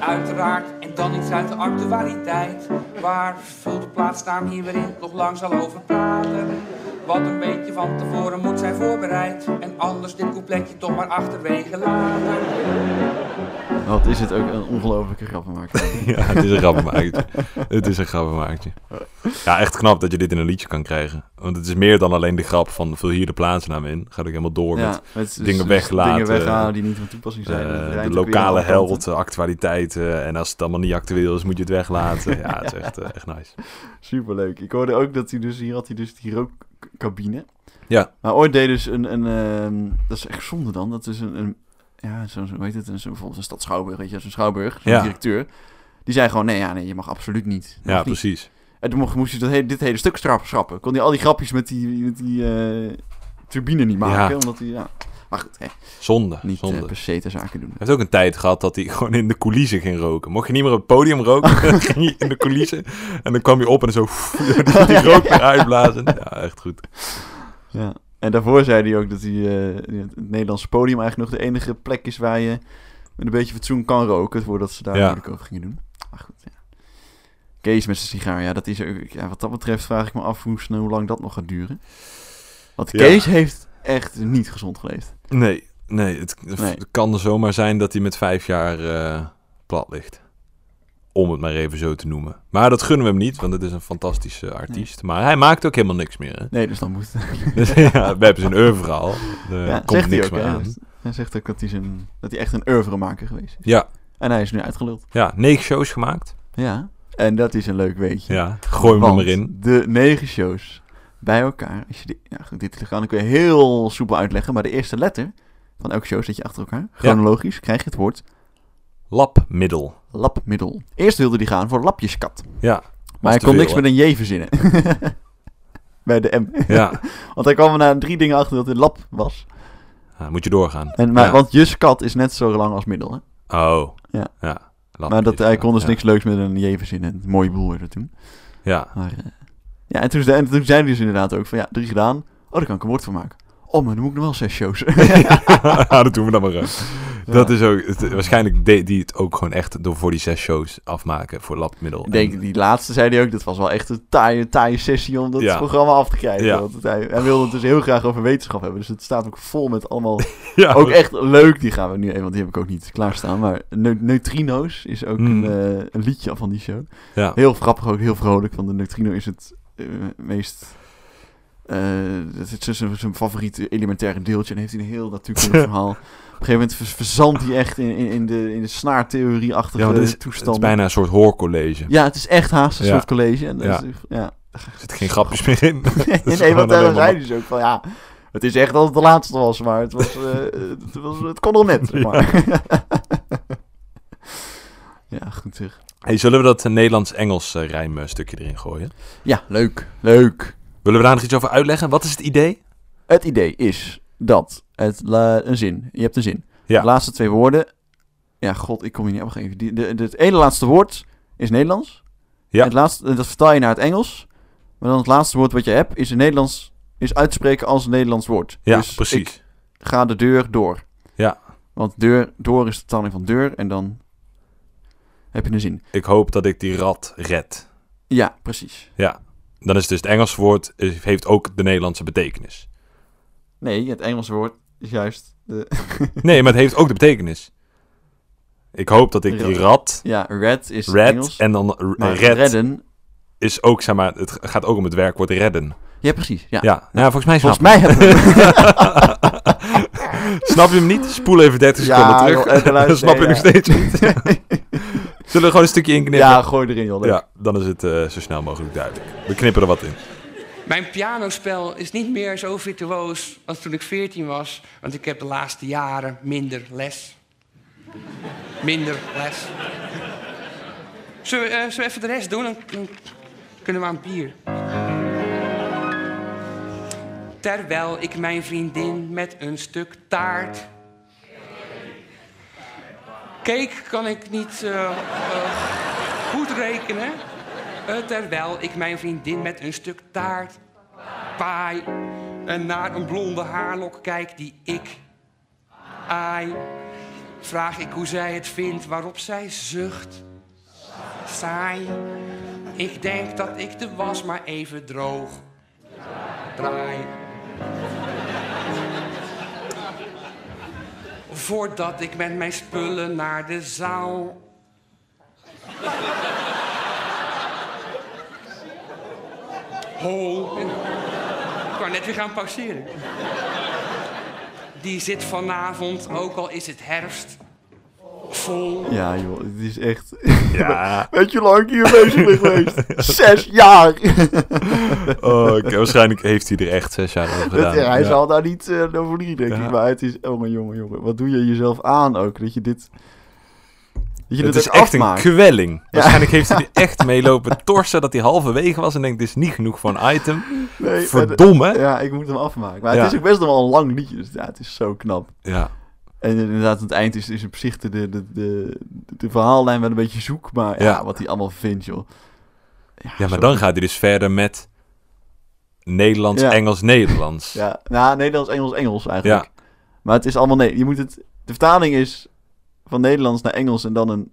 Speaker 4: Uiteraard, en dan iets uit de actualiteit. Waar vul de plaatsnaam hier weer in, nog lang zal over praten. Wat een beetje van tevoren moet zijn voorbereid. En anders dit coupletje toch maar achterwege laten.
Speaker 2: Wat is het ook een ongelofelijke grappenmaker.
Speaker 1: Ja, het is een grappenmakertje. het is een grappenmakertje. Ja, echt knap dat je dit in een liedje kan krijgen. Want het is meer dan alleen de grap van vul hier de plaatsnaam in. Gaat ook helemaal door met
Speaker 2: met
Speaker 1: dingen weglaten.
Speaker 2: dus Dingen weghalen die niet van toepassing zijn.
Speaker 1: eh,
Speaker 2: Dat rijmt
Speaker 1: de
Speaker 2: ook weer
Speaker 1: lokale
Speaker 2: aan alle kanten.
Speaker 1: held, de actualiteiten. En als het allemaal niet actueel is, moet je het weglaten. Ja, het is echt, eh, echt nice.
Speaker 2: Superleuk. Ik hoorde ook dat hij dus, hier had hij dus die rookcabine.
Speaker 1: Ja.
Speaker 2: Maar ooit deed dus een, een ehm, dat is echt zonde dan, dat is een, een ja, zo'n, zo, hoe heet het, een, zo, bijvoorbeeld een stad Schouwburg, weet je, zo'n Schouwburg, zo'n
Speaker 1: Ja.
Speaker 2: directeur. Die zei gewoon, nee, ja, nee, je mag absoluut niet. Mag
Speaker 1: Ja,
Speaker 2: niet.
Speaker 1: precies.
Speaker 2: En toen mocht, moest hij dat hele, dit hele stuk straf schrappen. Kon hij al die grapjes met die, met die eh, turbine niet maken,
Speaker 1: Ja.
Speaker 2: omdat hij, ja. Maar goed, hè,
Speaker 1: Zonde,
Speaker 2: niet eh,
Speaker 1: zonde.
Speaker 2: per se te zaken doen.
Speaker 1: Hij heeft ook een tijd gehad dat hij gewoon in de coulissen ging roken. Mocht je niet meer op het podium roken, dan ging je in de coulissen. En dan kwam je op en zo... Die rook weer uitblazen. Ja, echt goed.
Speaker 2: Ja. En daarvoor zei hij ook dat hij, eh, het Nederlandse podium eigenlijk nog de enige plek is waar je met een beetje fatsoen kan roken. Voordat ze daar
Speaker 1: Ja.
Speaker 2: moeilijk over gingen doen. Maar goed, ja. Kees met zijn sigaar, ja, dat is ook, ja, wat dat betreft vraag ik me af hoe, snel- hoe lang dat nog gaat duren. Want
Speaker 1: Ja.
Speaker 2: Kees heeft echt niet gezond geleefd.
Speaker 1: Nee, nee het,
Speaker 2: Nee.
Speaker 1: het kan er zomaar zijn dat hij met vijf jaar eh, plat ligt. Om het maar even zo te noemen. Maar dat gunnen we hem niet, want het is een fantastische artiest. Maar hij maakt ook helemaal niks meer. Hè?
Speaker 2: Nee, dus dan moet...
Speaker 1: Dus ja, we hebben zijn oeuvre al. Er
Speaker 2: ja,
Speaker 1: komt
Speaker 2: zegt hij
Speaker 1: niks
Speaker 2: ook,
Speaker 1: meer
Speaker 2: hè.
Speaker 1: aan.
Speaker 2: Hij zegt ook dat hij, zijn, dat hij echt een oeuvremaker geweest is.
Speaker 1: Ja,
Speaker 2: En hij is nu uitgeluld.
Speaker 1: ja, negen shows gemaakt.
Speaker 2: Ja. En dat is een leuk weetje.
Speaker 1: Ja, gooi hem er
Speaker 2: Want
Speaker 1: maar in.
Speaker 2: De negen shows bij elkaar. Als je die, ja, goed, dit kan ik weer heel soepel uitleggen. Maar de eerste letter van elke show zet je achter elkaar. Chronologisch krijg je het woord
Speaker 1: Labmiddel.
Speaker 2: labmiddel. Eerst wilde die gaan voor lapjeskat.
Speaker 1: Ja,
Speaker 2: Maar hij
Speaker 1: te
Speaker 2: kon
Speaker 1: veel,
Speaker 2: niks met een J verzinnen. bij de M.
Speaker 1: ja.
Speaker 2: Want hij kwam er na drie dingen achter dat het lab was.
Speaker 1: Ja, moet je doorgaan.
Speaker 2: En, maar,
Speaker 1: Ja.
Speaker 2: Want juskat is net zo lang als middel. Hè?
Speaker 1: Oh,
Speaker 2: Ja.
Speaker 1: ja.
Speaker 2: Maar dat, hij kon dus
Speaker 1: Ja.
Speaker 2: niks leuks met een J verzinnen. Een mooie boel werd het toen.
Speaker 1: Ja,
Speaker 2: Maar, eh, ja, en toen, ze- en toen zeiden ze dus inderdaad ook van ja, drie gedaan. Oh, daar kan ik een woord van maken. Oh, maar dan moet ik nog wel zes shows.
Speaker 1: Ah, dat doen we dan maar. uit. Dat is ook, het- waarschijnlijk deed die het ook gewoon echt door voor die zes shows afmaken voor labmiddel.
Speaker 2: ik denk, die laatste zei hij ook, dat was wel echt een taaie, taaie sessie om dat
Speaker 1: Ja.
Speaker 2: programma af te krijgen.
Speaker 1: Ja.
Speaker 2: Want hij, hij wilde het dus heel graag over wetenschap hebben. Dus het staat ook vol met allemaal,
Speaker 1: ja,
Speaker 2: ook echt leuk, die gaan we nu even, want die heb ik ook niet klaarstaan. Maar Neu- Neutrino's is ook
Speaker 1: Mm.
Speaker 2: een, eh, een liedje van die show.
Speaker 1: ja.
Speaker 2: Heel grappig ook, heel vrolijk, want de Neutrino is het eh, meest... eh het is zijn- zijn, zijn favoriete elementaire deeltje en heeft hij een heel natuurkundig verhaal. Op een gegeven moment vers- verzandt hij echt in, in, in de, in de snaartheorie-achtige
Speaker 1: Ja, maar dit is, het is
Speaker 2: toestanden.
Speaker 1: bijna een soort hoorcollege.
Speaker 2: Ja, het is echt haast een
Speaker 1: Ja.
Speaker 2: soort college. En dat
Speaker 1: Ja.
Speaker 2: is- ja.
Speaker 1: Er zitten geen grapjes meer in. Het is
Speaker 2: nee,
Speaker 1: gewoon
Speaker 2: want daar
Speaker 1: alleen maar-
Speaker 2: zei dus ook van ja, het is echt dat het de laatste was, maar het, was, eh, het, was, het kon nog net. Zeg maar. Ja. goed zeg.
Speaker 1: Hey, zullen we dat Nederlands-Engels eh, rijm eh, stukje erin gooien?
Speaker 2: Ja, leuk. Leuk.
Speaker 1: Willen we daar nog iets over uitleggen? Wat is het idee?
Speaker 2: Het idee is dat het la- een zin, je hebt een zin.
Speaker 1: Ja.
Speaker 2: De laatste twee woorden, ja, god, ik kom hier niet op gegeven. Die, de, de- het ene laatste woord is Nederlands.
Speaker 1: Ja.
Speaker 2: Het laatste, dat vertaal je naar het Engels. Maar dan het laatste woord wat je hebt is in Nederlands, is uitspreken als een Nederlands woord.
Speaker 1: Ja,
Speaker 2: dus ik
Speaker 1: precies.
Speaker 2: ga de deur door.
Speaker 1: Ja.
Speaker 2: Want deur, door is de vertaling van deur en dan heb je een zin.
Speaker 1: Ik hoop dat ik die rat red.
Speaker 2: Ja, precies.
Speaker 1: Dan is dus het Engelse woord, is- heeft ook de Nederlandse betekenis.
Speaker 2: Nee, het Engelse woord is juist de...
Speaker 1: Nee, maar het heeft ook de betekenis. Ik hoop dat ik die rat
Speaker 2: Ja, red is
Speaker 1: red
Speaker 2: Engels.
Speaker 1: en dan r-
Speaker 2: maar
Speaker 1: red
Speaker 2: redden...
Speaker 1: is ook, zeg maar, het gaat ook om het werkwoord redden.
Speaker 2: Ja, precies. Ja.
Speaker 1: Ja, Nou, volgens mij snap,
Speaker 2: Volgens mij hebben we...
Speaker 1: snap je hem niet. Spoel even 30
Speaker 2: Ja,
Speaker 1: seconden
Speaker 2: joh,
Speaker 1: terug.
Speaker 2: even luisteren,
Speaker 1: dan snap je
Speaker 2: ja.
Speaker 1: nog steeds niet. Zullen we er gewoon een stukje in knippen?
Speaker 2: ja, gooi erin, joh. leuk.
Speaker 1: Ja, dan is het eh, zo snel mogelijk duidelijk. We knippen er wat in.
Speaker 4: Mijn pianospel is niet meer zo virtuoos als toen ik 14 was, want ik heb de laatste jaren minder les. Minder les. Zullen we, eh, zullen we even de rest doen? Dan, dan kunnen we aan het bier. Terwijl ik mijn vriendin met een stuk taart. Cake kan ik niet eh, eh, goed rekenen. Eh, terwijl ik mijn vriendin met een stuk taart paai. En naar een blonde haarlok kijk die ik aai. Vraag ik hoe zij het vindt, waarop zij zucht. Saai. Ik denk dat ik de was maar even droog draai. Voordat ik met mijn spullen naar de zaal Ho. Ik wou net weer gaan pauzeren. Die zit vanavond, ook al is het herfst, vol.
Speaker 2: Ja, joh. Het is echt...
Speaker 1: Ja.
Speaker 2: Weet je hoe lang ik hier bezig ben geweest? Zes jaar!
Speaker 1: Oh, oké, waarschijnlijk heeft hij er echt zes jaar over gedaan.
Speaker 2: Ja, hij
Speaker 1: Ja.
Speaker 2: zal daar niet eh over liegen, denk ik.
Speaker 1: Ja.
Speaker 2: Maar het is... Oh, mijn jongen, jongen. Wat doe je jezelf aan ook? Dat je dit... Dat je
Speaker 1: Het
Speaker 2: dit
Speaker 1: is
Speaker 2: ook
Speaker 1: echt
Speaker 2: afmaakt.
Speaker 1: een kwelling. Waarschijnlijk heeft hij er echt mee lopen torsen dat hij halverwege was en denkt, dit is niet genoeg voor een item.
Speaker 2: Nee, maar-
Speaker 1: Verdomme. Ja.
Speaker 2: Ja, ik moet hem afmaken. Maar
Speaker 1: Ja.
Speaker 2: het is ook best nog wel een lang liedje. Dus ja, het is zo knap. En inderdaad, aan het eind is, is op zich de, de, de, de, de verhaallijn wel een beetje zoek. Maar ja,
Speaker 1: Ja.
Speaker 2: wat hij allemaal vindt, joh.
Speaker 1: Ja, maar
Speaker 2: zo-
Speaker 1: dan gaat hij dus verder met... Nederlands,
Speaker 2: Ja.
Speaker 1: Engels, Nederlands.
Speaker 2: Ja, nou, Nederlands, Engels, Engels eigenlijk.
Speaker 1: Ja.
Speaker 2: Maar het is allemaal nee. Je moet het, de vertaling is van Nederlands naar Engels en dan een,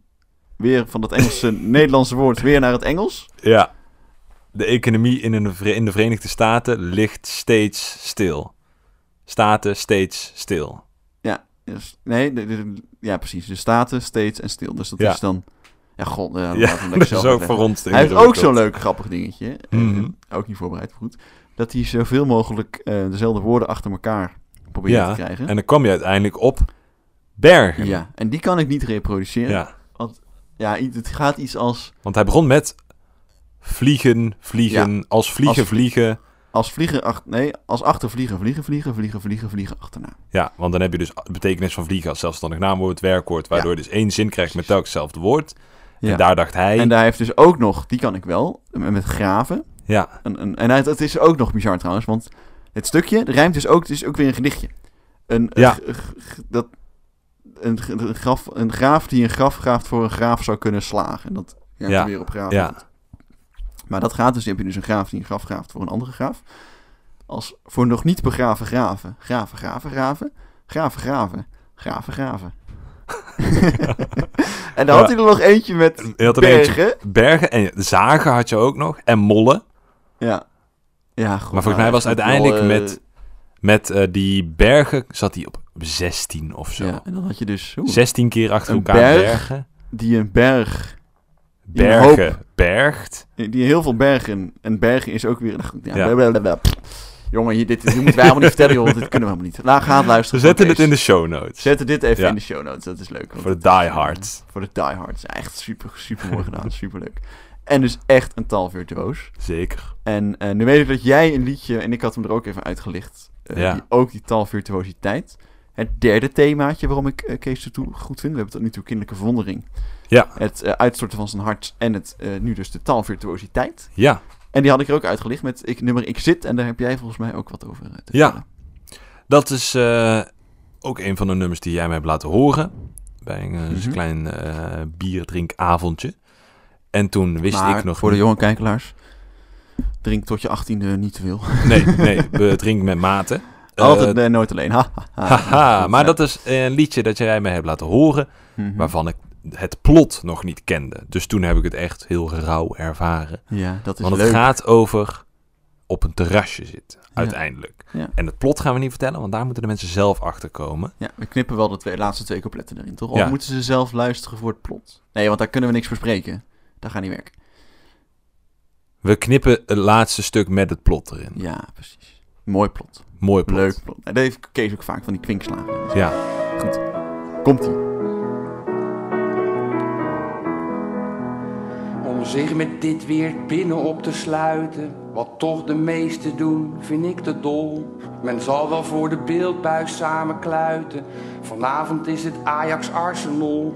Speaker 2: weer van dat Engelse Nederlandse woord weer naar het Engels.
Speaker 1: Ja. De economie in, een, ver- in de Verenigde Staten ligt steeds stil. Staten steeds stil.
Speaker 2: Ja, dus, nee, de- de- de- ja, precies. De staten, steeds en stil. Dus dat
Speaker 1: Ja.
Speaker 2: is dan. Ja, god, eh, laat
Speaker 1: Ja,
Speaker 2: hem lekker
Speaker 1: dat
Speaker 2: zelf
Speaker 1: is ook
Speaker 2: uitleggen.
Speaker 1: voor ons.
Speaker 2: Hij heeft ook zo'n leuk grappig dingetje. eh,
Speaker 1: Mhm.
Speaker 2: ook niet voorbereid, maar goed. Dat hij zoveel mogelijk eh, dezelfde woorden achter elkaar probeert
Speaker 1: Ja,
Speaker 2: te krijgen.
Speaker 1: En dan kwam je uiteindelijk op bergen. Ja.
Speaker 2: ja, en die kan ik niet reproduceren. Ja, i- het gaat iets als,
Speaker 1: Want hij begon met vliegen, vliegen, als vliegen,
Speaker 2: Als-
Speaker 1: vliegen.
Speaker 2: als vliegen ach, nee, als achter vliegen, vliegen, vliegen, vliegen, vliegen, vliegen achterna.
Speaker 1: Ja, want dan heb je dus de betekenis van vliegen als zelfstandig naamwoord, werkwoord, waardoor je dus één zin krijgt met telkens hetzelfde woord.
Speaker 2: Ja.
Speaker 1: En daar dacht hij,
Speaker 2: En daar heeft dus ook nog, die kan ik wel, met met graven.
Speaker 1: ja,
Speaker 2: Een, een, en het, het is ook nog bizar trouwens, want het stukje het rijmt dus ook, het is ook weer een gedichtje. Een, een
Speaker 1: Ja.
Speaker 2: g- g- g- dat, een, g- een, graf, een graaf die een graf graaft voor een graaf zou kunnen slagen. En dat rijmt
Speaker 1: Ja.
Speaker 2: er weer op graaf.
Speaker 1: ja,
Speaker 2: Maar dat gaat dus, heb je dus een graaf die een graf graaft voor een andere graaf. Als voor nog niet begraven graven, graven, graven, graven, graven, graven, graven, graven. en dan had hij er nog eentje met
Speaker 1: Hij had er eentje.
Speaker 2: bergen.
Speaker 1: bergen en zagen had je ook nog en mollen.
Speaker 2: Ja. Ja, goed.
Speaker 1: Maar volgens mij was uiteindelijk
Speaker 2: eh,
Speaker 1: met, met eh, die bergen zat hij op 16 of zo.
Speaker 2: Ja, en dan had je dus oeh,
Speaker 1: 16 keer achter
Speaker 2: Een
Speaker 1: elkaar
Speaker 2: berg.
Speaker 1: bergen.
Speaker 2: die een berg, een
Speaker 1: Bergen, bergt.
Speaker 2: die heel veel bergen, en bergen is ook weer... nou goed, Ja,
Speaker 1: Ja.
Speaker 2: blablabla. Pff, Jongen, hier, dit, dit moeten wij helemaal niet vertellen, joh, dit kunnen we helemaal niet. Laat gaan
Speaker 1: Ze
Speaker 2: luisteren.
Speaker 1: zetten
Speaker 2: Oké,
Speaker 1: dit in de show notes.
Speaker 2: Zetten dit even
Speaker 1: Ja.
Speaker 2: in de show notes, dat is leuk. want
Speaker 1: Voor de
Speaker 2: dat is,
Speaker 1: diehards.
Speaker 2: eh, Voor de diehards, echt super, super mooi gedaan, super leuk. En dus echt een tal virtuoos.
Speaker 1: Zeker.
Speaker 2: En eh, nu weet ik dat jij een liedje, en ik had hem er ook even uitgelicht, eh,
Speaker 1: Ja.
Speaker 2: die, ook die tal virtuositeit. Het derde themaatje waarom ik eh, Kees de Toe goed vind, we hebben tot nu toe kinderlijke verwondering.
Speaker 1: Ja.
Speaker 2: Het eh, uitstorten van zijn hart en het, eh, nu dus de taalvirtuositeit.
Speaker 1: Ja,
Speaker 2: En die had ik er ook uitgelicht met ik, nummer Ik zit en daar heb jij volgens mij ook wat over eh, te
Speaker 1: Ja.
Speaker 2: vertellen.
Speaker 1: dat is eh, ook een van de nummers die jij me hebt laten horen. Bij een eh,
Speaker 2: Mhm.
Speaker 1: klein eh, bierdrinkavondje. En toen wist
Speaker 2: Maar
Speaker 1: ik nog
Speaker 2: voor de
Speaker 1: niet-
Speaker 2: jonge kijkeraars, drink tot je 18e niet te veel.
Speaker 1: Nee, nee, we drinken met mate. Eh,
Speaker 2: Altijd en nooit alleen. Ha, ha, ha.
Speaker 1: haha, maar
Speaker 2: Ja.
Speaker 1: dat is een liedje dat jij mij hebt laten horen.
Speaker 2: Mhm.
Speaker 1: waarvan ik het plot nog niet kende. Dus toen heb ik het echt heel rauw ervaren.
Speaker 2: Ja, dat is
Speaker 1: Want het
Speaker 2: leuk.
Speaker 1: gaat over op een terrasje zitten, uiteindelijk.
Speaker 2: Ja.
Speaker 1: En het plot gaan we niet vertellen, want daar moeten de mensen zelf achter komen.
Speaker 2: Ja, we knippen wel de twee, laatste twee coupletten erin, toch? Of
Speaker 1: Ja.
Speaker 2: moeten ze zelf luisteren voor het plot? Nee, want daar kunnen we niks bespreken. Dat gaat niet werken.
Speaker 1: We knippen het laatste stuk met het plot erin.
Speaker 2: Ja, precies. Mooi plot.
Speaker 1: Mooi plot.
Speaker 2: Leuk plot. En dat heeft Kees ook vaak van die kwinkslagen.
Speaker 1: Ja.
Speaker 2: Komt-ie.
Speaker 4: Om zich met dit weer binnen op te sluiten, wat toch de meesten doen, vind ik te dol. Men zal wel voor de beeldbuis samen kluiten. Vanavond is het Ajax Arsenal.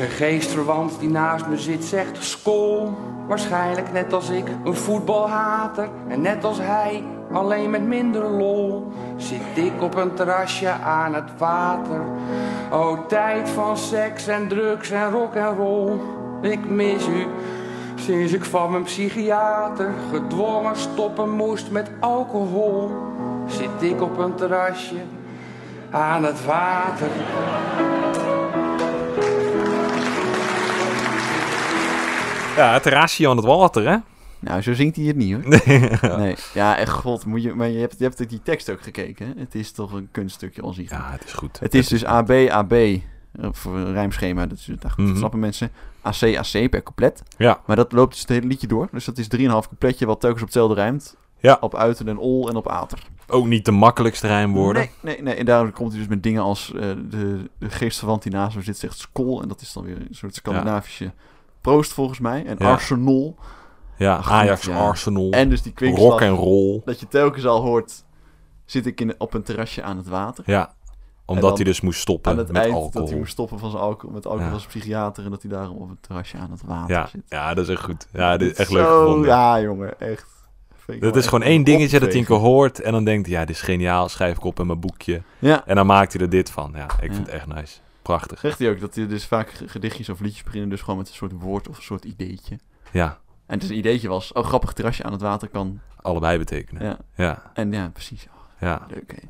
Speaker 4: Een geestverwant die naast me zit zegt skol. Waarschijnlijk net als ik, een voetbalhater. En net als hij, alleen met minder lol. Zit ik op een terrasje aan het water. O, tijd van seks en drugs en rock en roll. Ik mis u. Sinds ik van mijn psychiater gedwongen stoppen moest met alcohol. Zit ik op een terrasje aan het water.
Speaker 1: ja, het terrasje aan het water, hè?
Speaker 2: Nou, zo zingt hij het niet, hoor. Nee. Ja, echt god. Moet je, maar je hebt, je hebt die tekst ook gekeken, hè? Het is toch een kunststukje als iets.
Speaker 1: Ja, het is goed.
Speaker 2: Het is dus AB, AB. eh, Voor een rijmschema, dat, is, dat
Speaker 1: Mhm.
Speaker 2: snappen mensen. AC, AC per couplet.
Speaker 1: Ja,
Speaker 2: Maar dat loopt dus het hele liedje door. Dus dat is 3,5 coupletje wat telkens op hetzelfde rijmt.
Speaker 1: Ja.
Speaker 2: Op uiten en ol en op ater.
Speaker 1: ook niet de makkelijkste rijmwoorden.
Speaker 2: Nee, nee, nee. En daarom komt hij dus met dingen als eh, de, de geestverwant die naast hem zit zegt skol. En dat is dan weer een soort Scandinavische proost volgens mij. En
Speaker 1: Ja.
Speaker 2: arsenal.
Speaker 1: Ja,
Speaker 2: Ach,
Speaker 1: Ajax,
Speaker 2: goed, ja.
Speaker 1: Arsenal,
Speaker 2: En dus die
Speaker 1: rock
Speaker 2: kwinkslag.
Speaker 1: en roll.
Speaker 2: Dat je telkens al hoort, zit ik in, op een terrasje aan het water.
Speaker 1: Ja, omdat
Speaker 2: dan
Speaker 1: hij dus moest stoppen
Speaker 2: aan het
Speaker 1: met
Speaker 2: eind dat
Speaker 1: alcohol.
Speaker 2: hij moest stoppen van zijn alcohol, met alcohol
Speaker 1: Ja.
Speaker 2: als psychiater. En dat hij daarom op een terrasje aan het water
Speaker 1: ja,
Speaker 2: zit.
Speaker 1: ja, dat is echt goed. Ja, dit is echt
Speaker 2: Zo-
Speaker 1: leuk gevonden.
Speaker 2: Ja, jongen, echt. Vind ik
Speaker 1: Dat
Speaker 2: wel
Speaker 1: is gewoon
Speaker 2: echt
Speaker 1: één
Speaker 2: een
Speaker 1: dingetje dat hij een keer
Speaker 2: opvegen.
Speaker 1: hoort en dan denkt, hij, ja, dit is geniaal, schrijf ik op in mijn boekje.
Speaker 2: Ja.
Speaker 1: En dan maakt hij er dit van. Ja, ik
Speaker 2: Ja.
Speaker 1: vind het echt nice. Prachtig.
Speaker 2: Zegt hij ook dat hij dus vaak gedichtjes of liedjes beginnen dus gewoon met een soort woord of een soort ideetje.
Speaker 1: Ja,
Speaker 2: En dus een ideetje was, oh grappig terrasje aan het water kan.
Speaker 1: Allebei betekenen.
Speaker 2: Ja.
Speaker 1: Ja,
Speaker 2: En ja, precies. Oh,
Speaker 1: ja.
Speaker 2: Leuk, hè.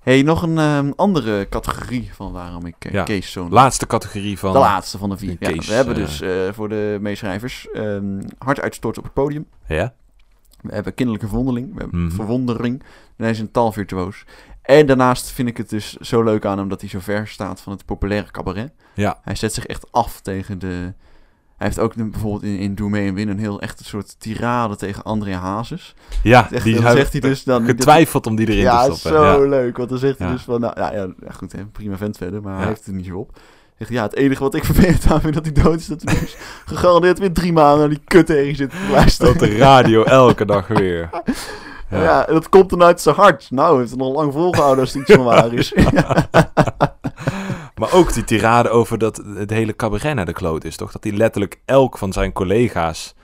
Speaker 2: hey, nog een ehm, andere categorie van waarom ik eh,
Speaker 1: Ja.
Speaker 2: Kees zo'n...
Speaker 1: Laatste categorie van...
Speaker 2: de laatste van de vier. Ja,
Speaker 1: Kees,
Speaker 2: we hebben
Speaker 1: eh,
Speaker 2: dus eh, voor de meeschrijvers ehm, hard uitstorten op het podium.
Speaker 1: Ja?
Speaker 2: We hebben kinderlijke verwondeling. We hebben
Speaker 1: Mhm.
Speaker 2: verwondering. En hij is een taalvirtuoos. En daarnaast vind ik het dus zo leuk aan hem dat hij zo ver staat van het populaire cabaret.
Speaker 1: Ja.
Speaker 2: Hij zet zich echt af tegen de... Hij heeft ook een- bijvoorbeeld in, in Doe Mee en Win een heel echt een soort tirade tegen André Hazes.
Speaker 1: Ja,
Speaker 2: Echt,
Speaker 1: die
Speaker 2: dan
Speaker 1: zou-
Speaker 2: zegt hij dus dan...
Speaker 1: Getwijfeld om die erin
Speaker 2: ja,
Speaker 1: te stoppen.
Speaker 2: zo
Speaker 1: Ja.
Speaker 2: leuk. Want dan zegt hij
Speaker 1: Ja.
Speaker 2: dus van... Nou, ja, ja, ja, goed, hè, prima vent verder, maar hij
Speaker 1: Ja.
Speaker 2: heeft het niet zo op. Zegt, hij, ja, het enige wat ik vervelend aan vind dat hij dood is, dat hij dus gegarandeerd weer drie maanden naar die kut ergens zit te luisteren.
Speaker 1: Op de radio elke dag weer.
Speaker 2: Ja. en dat komt dan uit zijn hart. Nou, heeft het nog lang volgehouden als het iets van waar is.
Speaker 1: Maar ook die tirade over dat het hele cabaret naar de kloot is, toch? Dat hij letterlijk elk van zijn collega's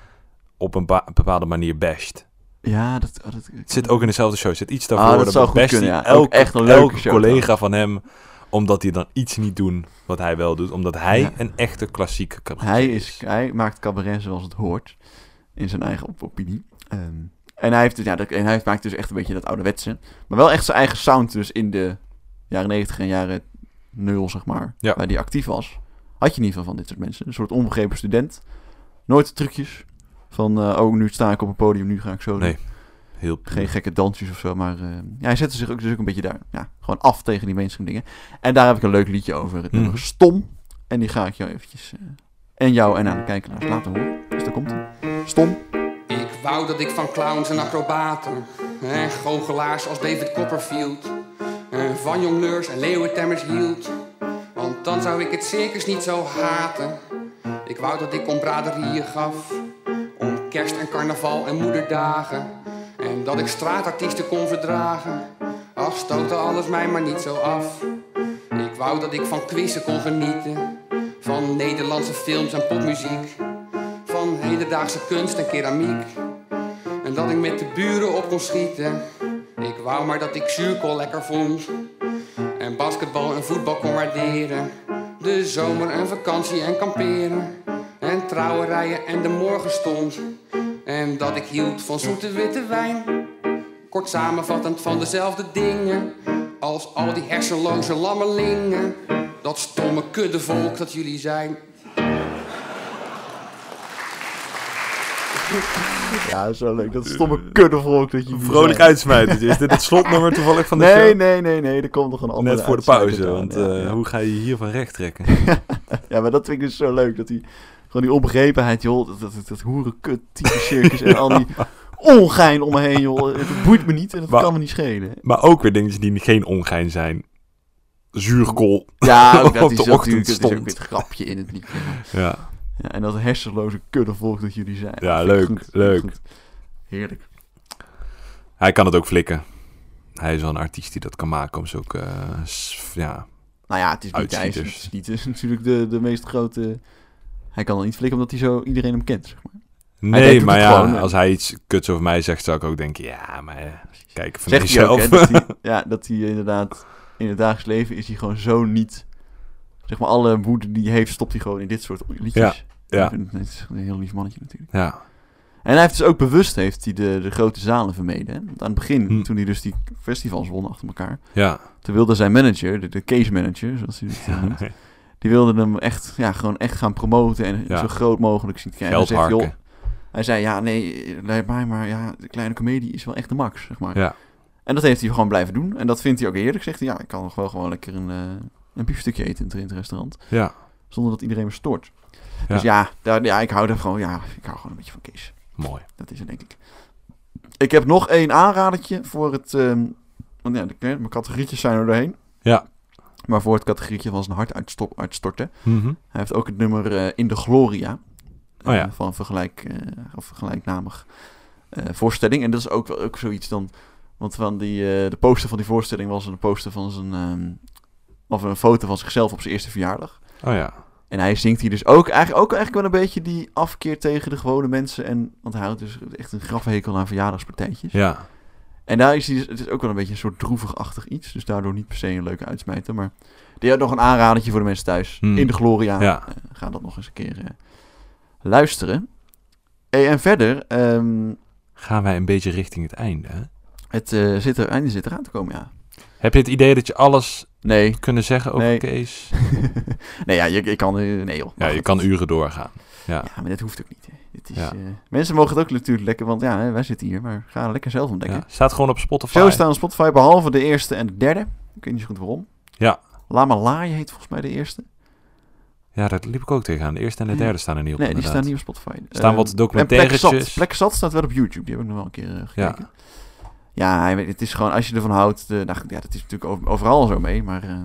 Speaker 1: op een ba- bepaalde manier basht.
Speaker 2: ja, dat... oh, dat
Speaker 1: Het zit ook in dezelfde show. Het zit iets
Speaker 2: Ah,
Speaker 1: daarvoor.
Speaker 2: dat
Speaker 1: dan
Speaker 2: zou goed
Speaker 1: basht
Speaker 2: kunnen,
Speaker 1: hij
Speaker 2: ja.
Speaker 1: elk-
Speaker 2: Ook echt een leuke
Speaker 1: elke
Speaker 2: show
Speaker 1: collega van hem, omdat die dan iets niet doen wat hij wel doet. Omdat hij
Speaker 2: Ja.
Speaker 1: een echte klassieke cabaretier
Speaker 2: hij, is, hij maakt cabaret zoals het hoort. In zijn eigen op- opinie. Ehm, en hij, heeft, dus- ja, dat, en hij maakt dus echt een beetje dat ouderwetse. Maar wel echt zijn eigen sound dus in de jaren 90 en jaren nul, zeg maar.
Speaker 1: Ja.
Speaker 2: Waar hij actief was. Had je niet van van dit soort mensen. Een soort onbegrepen student. Nooit de trucjes. Van, eh, oh, nu sta ik op een podium, nu ga ik zo doen.
Speaker 1: Nee. Heel puur.
Speaker 2: Geen gekke dansjes of zo, maar eh, ja, hij zette zich ook, dus ook een beetje daar. Ja, gewoon af tegen die mainstream dingen. En daar heb ik een leuk liedje over. Het
Speaker 1: Hmm.
Speaker 2: nummer Stom. En die ga ik jou eventjes... eh, en jou en aan de kijkers laten horen. Dus daar komt hij. Stom.
Speaker 4: Ik wou dat ik van clowns en acrobaten, hè, goochelaars als David Copperfield, eh, van jongleurs en leeuwentemmers hield. Want dan zou ik het circus niet zo haten. Ik wou dat ik om braderieën gaf, om kerst en carnaval en moederdagen. En dat ik straatartiesten kon verdragen. Ach, stootte alles mij maar niet zo af. Ik wou dat ik van quizzen kon genieten, van Nederlandse films en popmuziek van hedendaagse kunst en keramiek. En dat ik met de buren op kon schieten. Ik wou maar dat ik zuurkool lekker vond. En basketbal en voetbal kon waarderen. De zomer en vakantie en kamperen. En trouwerijen en de morgenstond. En dat ik hield van zoete witte wijn. Kort samenvattend van dezelfde dingen. Als al die hersenloze lammelingen. Dat stomme kuddevolk dat jullie zijn.
Speaker 2: Ja, zo leuk. Dat stomme kuddevolk dat je...
Speaker 1: Eh, Vrolijk uitsmijten. Is dit het slotnummer toevallig van de
Speaker 2: Nee,
Speaker 1: show?
Speaker 2: nee, nee, nee. Er komt nog een andere
Speaker 1: Net voor de
Speaker 2: uitsmijter
Speaker 1: pauze,
Speaker 2: eraan,
Speaker 1: want
Speaker 2: ja,
Speaker 1: eh,
Speaker 2: ja.
Speaker 1: hoe ga je hiervan recht trekken?
Speaker 2: Ja, maar dat vind ik dus zo leuk. Dat hij gewoon die onbegrepenheid, joh. Dat, dat, dat, hoerenkut, type circus en al die ongein om me heen, joh. Het boeit me niet en dat
Speaker 1: Maar-
Speaker 2: kan me niet schelen.
Speaker 1: Maar ook weer dingetjes die geen ongein zijn. Zuurkool.
Speaker 2: Ja, ook
Speaker 1: Op
Speaker 2: dat
Speaker 1: de
Speaker 2: is natuurlijk
Speaker 1: ochtend
Speaker 2: dat is ook
Speaker 1: stond.
Speaker 2: weer het grapje in het liedje.
Speaker 1: Ja,
Speaker 2: Ja, en dat hersenloze kuddevolk dat jullie zijn.
Speaker 1: Ja,
Speaker 2: Dat vind ik
Speaker 1: leuk,
Speaker 2: vind ik
Speaker 1: leuk.
Speaker 2: Heerlijk.
Speaker 1: hij kan het ook flikken. Hij is wel een artiest die dat kan maken om zulke... eh, s- ja,
Speaker 2: Nou ja, het is niet, hij is, het
Speaker 1: Uitschieters.
Speaker 2: is niet het is natuurlijk de, de meest grote... Hij kan al niet flikken omdat hij zo iedereen hem kent, zeg maar.
Speaker 1: Nee,
Speaker 2: doet
Speaker 1: maar
Speaker 2: het
Speaker 1: ja,
Speaker 2: gewoon, hè.
Speaker 1: als hij iets kuts over mij zegt, zou ik ook denken, ja, maar eh, kijk van
Speaker 2: Zegt hij ook,
Speaker 1: jezelf.
Speaker 2: hè, dat hij, ja, dat hij inderdaad... In het dagelijks leven is hij gewoon zo niet... Zeg maar, alle woede die hij heeft, stopt hij gewoon in dit soort liedjes.
Speaker 1: ja.
Speaker 2: Ik vind Het het is een heel lief mannetje natuurlijk.
Speaker 1: ja,
Speaker 2: En hij heeft dus ook bewust heeft hij de, de grote zalen vermeden. Hè? Want aan het begin,
Speaker 1: Hm.
Speaker 2: toen hij dus die festivals won achter elkaar...
Speaker 1: ja,
Speaker 2: toen wilde zijn manager, de, de case manager, zoals hij het eh, noemt... die wilde hem echt, ja, gewoon echt gaan promoten en
Speaker 1: Ja.
Speaker 2: zo groot mogelijk zien te krijgen. Hij
Speaker 1: geld
Speaker 2: zegt,
Speaker 1: harken.
Speaker 2: joh, hij zei, ja, nee, lijkt mij maar, ja, de kleine comedie is wel echt de max, zeg maar.
Speaker 1: Ja.
Speaker 2: En dat heeft hij gewoon blijven doen. En dat vindt hij ook eerlijk. Zegt hij, ja, ik kan nog wel gewoon lekker een, eh een biefstukje eten in het- in het restaurant.
Speaker 1: Ja,
Speaker 2: Zonder dat iedereen me stoort.
Speaker 1: Ja.
Speaker 2: Dus ja, daar, ja, ik hou daar gewoon, ja, ik hou gewoon een beetje van Kees.
Speaker 1: mooi.
Speaker 2: Dat is het, denk ik. Ik heb nog één aanradertje voor het... ehm, want ja, de, hè, mijn categorietjes zijn er doorheen.
Speaker 1: Ja.
Speaker 2: Maar voor het categorietje van zijn hart uitstop, uitstorten.
Speaker 1: Mhm.
Speaker 2: Hij heeft ook het nummer eh, In de Gloria.
Speaker 1: Oh ja.
Speaker 2: Eh, van vergelijk, eh, of gelijknamig eh, voorstelling. En dat is ook, wel- ook zoiets dan... Want van die, eh, de poster van die voorstelling was een poster van zijn... ehm, of een foto van zichzelf op zijn eerste verjaardag.
Speaker 1: Oh ja,
Speaker 2: En hij zingt hier dus ook eigenlijk, ook eigenlijk wel een beetje die afkeer tegen de gewone mensen. En, want hij houdt dus echt een grafhekel aan verjaardagspartijtjes.
Speaker 1: ja,
Speaker 2: En daar is hij dus, het is ook wel een beetje een soort droevigachtig iets. Dus daardoor niet per se een leuke uitsmijter. Maar die had nog een aanradertje voor de mensen thuis.
Speaker 1: Hmm.
Speaker 2: In de Gloria.
Speaker 1: Ja.
Speaker 2: Eh, ga dat nog eens een keer eh, luisteren. Hey, en verder, ehm,
Speaker 1: Gaan wij een beetje richting het einde? Hè?
Speaker 2: het eh, zit, er, einde zit eraan te komen, ja.
Speaker 1: Heb je het idee dat je alles
Speaker 2: Nee.
Speaker 1: kunnen zeggen over
Speaker 2: Nee.
Speaker 1: Kees?
Speaker 2: nee, ja, je, je kan... eh, Nee, joh.
Speaker 1: Ja,
Speaker 2: Maar
Speaker 1: je
Speaker 2: goed,
Speaker 1: kan
Speaker 2: dat-
Speaker 1: uren doorgaan.
Speaker 2: Ja, maar dit hoeft ook niet. hè. Dit is,
Speaker 1: Ja.
Speaker 2: eh, mensen mogen het ook natuurlijk lekker, want ja, hè, wij zitten hier, maar ga lekker zelf ontdekken.
Speaker 1: Ja. Staat gewoon op Spotify.
Speaker 2: Zo staan op Spotify, behalve de eerste en de derde. Ik weet niet zo goed waarom.
Speaker 1: Ja.
Speaker 2: Lama Laai heet volgens mij de eerste.
Speaker 1: Ja, daar liep ik ook tegenaan. De eerste en de
Speaker 2: Ja.
Speaker 1: derde staan er niet op.
Speaker 2: nee, die
Speaker 1: inderdaad.
Speaker 2: staan niet op Spotify.
Speaker 1: Er staan
Speaker 2: Ehm,
Speaker 1: wat
Speaker 2: en Plek
Speaker 1: documentairetjes.
Speaker 2: Zat. Plek Zat staat wel op YouTube. Die heb ik nog wel een keer eh, gekeken. Ja. Ja, je weet, het is gewoon, als je ervan houdt, de, nou, goed, ja, dat is natuurlijk over- overal zo mee, maar eh,
Speaker 1: Ja,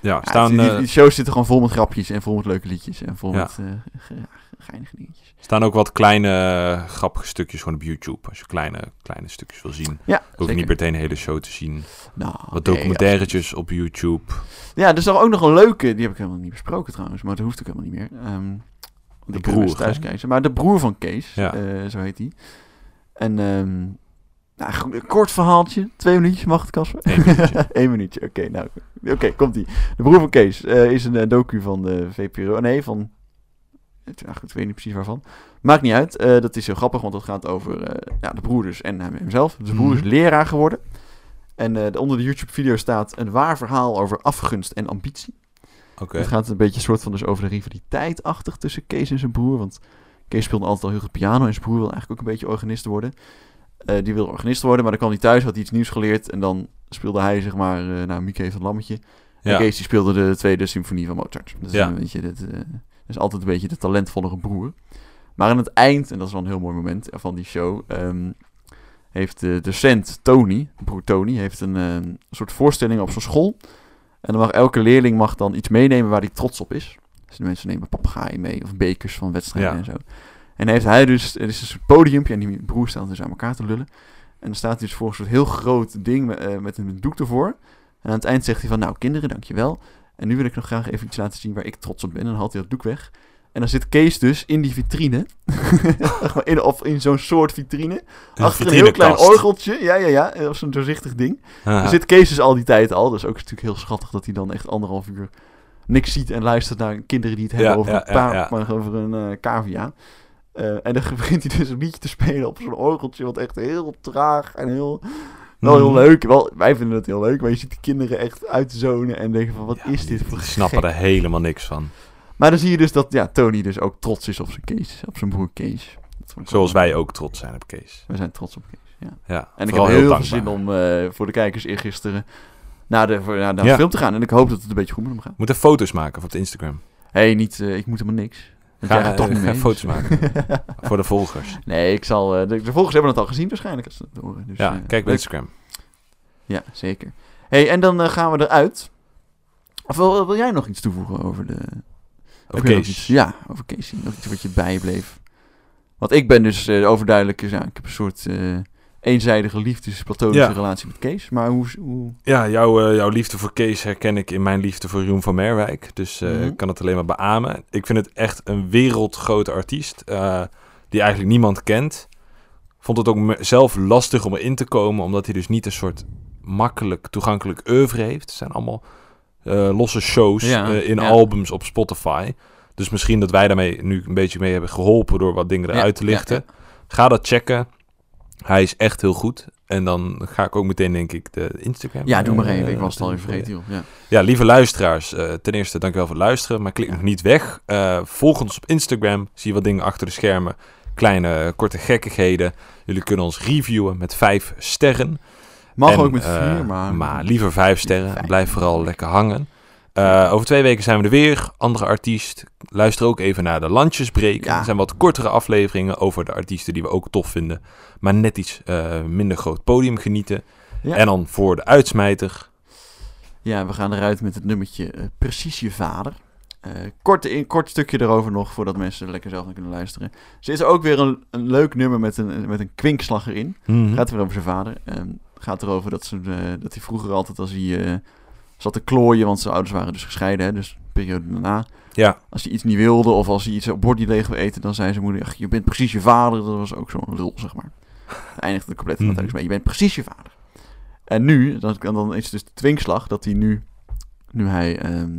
Speaker 2: ja,
Speaker 1: staan,
Speaker 2: die, die-
Speaker 1: eh,
Speaker 2: die shows zitten gewoon vol met grapjes en vol met leuke liedjes en vol
Speaker 1: Ja.
Speaker 2: met eh, ge- ja, geinige dingetjes.
Speaker 1: staan ook wat kleine eh, grappige stukjes gewoon op YouTube. Als je kleine, kleine stukjes wil zien.
Speaker 2: Ja,
Speaker 1: Hoef je
Speaker 2: zeker.
Speaker 1: niet meteen de hele show te zien.
Speaker 2: Nou,
Speaker 1: Wat
Speaker 2: nee, ja.
Speaker 1: documentairetjes op YouTube.
Speaker 2: Ja, er is nog ook nog een leuke. Die heb ik helemaal niet besproken trouwens, maar dat hoeft ook helemaal niet meer. Ehm, want die kunnen
Speaker 1: broer,
Speaker 2: mensen thuis
Speaker 1: hè?
Speaker 2: kijken. Maar de broer van Kees,
Speaker 1: Ja.
Speaker 2: eh, zo heet die. En ehm, nou, goed, een kort verhaaltje. Twee minuutjes mag het, Casper?
Speaker 1: Eén minuutje.
Speaker 2: Eén minuutje, oké. nou, oké, komt ie. De broer van Kees eh, is een eh, docu van de VPRO. Nee, van... het- ja, goed, ik weet niet precies waarvan. Maakt niet uit. eh, dat is heel grappig, want het gaat over eh, ja, de broeders en hem- hemzelf. De broer is
Speaker 1: Mhm.
Speaker 2: leraar geworden. En eh, onder de YouTube-video staat een waar verhaal over afgunst en ambitie.
Speaker 1: Oké.
Speaker 2: Het gaat een beetje soort van dus over de rivaliteit-achtig tussen Kees en zijn broer. Want Kees speelde altijd al heel goed piano en zijn broer wil eigenlijk ook een beetje organist worden. Eh, die wilde organist worden, maar dan kwam hij thuis, had hij iets nieuws geleerd. En dan speelde hij, zeg maar, eh nou, Mieke heeft een lammetje. En
Speaker 1: Ja.
Speaker 2: Kees die speelde de tweede symfonie van Mozart. Dus
Speaker 1: Ja.
Speaker 2: ja. weet je, dat, eh, dat is altijd een beetje de talentvollere broer. Maar aan het eind, en dat is wel een heel mooi moment van die show... ehm, heeft de docent Tony, broer Tony, heeft een eh, soort voorstelling op zijn school. En dan mag elke leerling mag dan iets meenemen waar hij trots op is. Dus de mensen nemen papegaaien mee of bekers van wedstrijden
Speaker 1: Ja.
Speaker 2: en zo. En heeft hij dus, er is een soort podiumpje en die broer staat dus aan elkaar te lullen. En dan staat hij dus voor een soort heel groot ding met, eh, met een doek ervoor. En aan het eind zegt hij van, nou kinderen, dankjewel. En nu wil ik nog graag even iets laten zien waar ik trots op ben. En dan haalt hij dat doek weg. En dan zit Kees dus in die vitrine. Zeg maar in, of in zo'n soort vitrine.
Speaker 1: Een
Speaker 2: achter een heel klein
Speaker 1: vitrinekast.
Speaker 2: orgeltje. Ja, ja, ja. Of zo'n doorzichtig ding.
Speaker 1: Ah,
Speaker 2: Er zit Kees dus al die tijd al. Dus ook is het natuurlijk heel schattig dat hij dan echt anderhalf uur niks ziet en luistert naar kinderen die het hebben
Speaker 1: Ja,
Speaker 2: over
Speaker 1: ja,
Speaker 2: een
Speaker 1: ja,
Speaker 2: paap,
Speaker 1: ja.
Speaker 2: maar over een eh, cavia. Eh, en dan begint hij dus een liedje te spelen op zo'n orgeltje, wat echt heel traag en heel... Wel heel
Speaker 1: Mhm.
Speaker 2: leuk, wel, wij vinden het heel leuk, maar je ziet de kinderen echt uitzonen en denken van, wat
Speaker 1: Ja,
Speaker 2: is dit voor
Speaker 1: Die snappen
Speaker 2: gek?
Speaker 1: er helemaal niks van.
Speaker 2: Maar dan zie je dus dat ja, Tony dus ook trots is op zijn Kees, op zijn broer Kees. Dat vond ik
Speaker 1: Zoals
Speaker 2: wel-
Speaker 1: wij ook trots zijn op Kees.
Speaker 2: We zijn trots op Kees.
Speaker 1: Ja,
Speaker 2: En ik heb
Speaker 1: vooral
Speaker 2: heel, veel
Speaker 1: dankbaar.
Speaker 2: zin om eh, voor de kijkers eergisteren naar de, voor- naar de
Speaker 1: Ja.
Speaker 2: film te gaan. En ik hoop dat het een beetje goed met hem gaat.
Speaker 1: We moeten foto's maken voor op het Instagram.
Speaker 2: Hé, hey, niet, eh, ik moet helemaal niks. Want
Speaker 1: Ga-
Speaker 2: jij gaat toch
Speaker 1: eh,
Speaker 2: niet
Speaker 1: ga
Speaker 2: mee, dus-
Speaker 1: foto's maken. voor de volgers.
Speaker 2: nee, ik zal... eh, de, de volgers hebben het al gezien waarschijnlijk, als ze dat horen. Dus,
Speaker 1: Ja,
Speaker 2: eh,
Speaker 1: kijk op
Speaker 2: leuk.
Speaker 1: Instagram.
Speaker 2: Ja, zeker. hey, en dan eh, gaan we eruit. Of wil, wil jij nog iets toevoegen over de...
Speaker 1: Oké.
Speaker 2: heb jij nog iets- Ja, over Casey. Nog iets wat je bijbleef. Want ik ben dus eh, overduidelijk... is, Ja, ik heb een soort eh, eenzijdige liefdes-platonische
Speaker 1: Ja.
Speaker 2: relatie met Kees. Maar hoe... hoe...
Speaker 1: Ja, jouw, eh, jouw liefde voor Kees herken ik in mijn liefde voor Jeroen van Merwijk. Dus eh,
Speaker 2: Mhm.
Speaker 1: ik kan het alleen maar beamen. Ik vind het echt een wereldgrote artiest eh, die eigenlijk niemand kent. Vond het ook me- zelf lastig om erin te komen, omdat hij dus niet een soort makkelijk toegankelijk oeuvre heeft. Het zijn allemaal eh, losse shows
Speaker 2: Ja,
Speaker 1: eh, in
Speaker 2: ja.
Speaker 1: albums op Spotify. Dus misschien dat wij daarmee nu een beetje mee hebben geholpen door wat dingen eruit te
Speaker 2: Ja, ja,
Speaker 1: lichten. Ga dat checken. Hij is echt heel goed. En dan ga ik ook meteen, denk ik, de Instagram.
Speaker 2: Ja, doe maar
Speaker 1: eh,
Speaker 2: even. Ik was het al
Speaker 1: doen
Speaker 2: even
Speaker 1: voor je.
Speaker 2: vergeten, joh. Ja.
Speaker 1: Ja, lieve luisteraars, eh, ten eerste dankjewel voor het luisteren. Maar klik nog niet weg. Eh, volg ons op Instagram. Zie je wat dingen achter de schermen. Kleine, korte gekkigheden. Jullie kunnen ons reviewen met vijf sterren.
Speaker 2: Mag
Speaker 1: En,
Speaker 2: ook met
Speaker 1: eh,
Speaker 2: vier, maar...
Speaker 1: Maar liever vijf sterren.
Speaker 2: Vijf.
Speaker 1: Blijf vooral lekker hangen. Eh, over twee weken zijn we er weer. Andere artiest. Luister ook even naar de Landjesbreek.
Speaker 2: Ja.
Speaker 1: Er zijn wat kortere afleveringen over de artiesten die we ook tof vinden. Maar net iets eh, minder groot podium genieten.
Speaker 2: Ja.
Speaker 1: En dan voor de uitsmijter.
Speaker 2: Ja, we gaan eruit met het nummertje eh, Precies je vader. Eh, kort, in, kort stukje erover nog, voordat mensen er lekker zelf naar kunnen luisteren. Ze is er ook weer een, een leuk nummer met een, met een kwinkslag erin.
Speaker 1: Mhm. Hm?
Speaker 2: Gaat weer over zijn vader. Ehm, gaat erover dat, ze, eh, dat hij vroeger altijd als hij eh, zat te klooien, want zijn ouders waren dus gescheiden, hè, dus een periode daarna.
Speaker 1: Ja.
Speaker 2: Als hij iets niet wilde of als hij iets op bord niet leeg wil eten, dan zei zijn moeder, ach, je bent precies je vader. Dat was ook zo'n lul, zeg maar. Daar eindigde de compleet van
Speaker 1: Mhm.
Speaker 2: mee. Je bent precies je vader. En nu, dan, dan is het dus de twinkslag dat hij nu, nu hij ehm,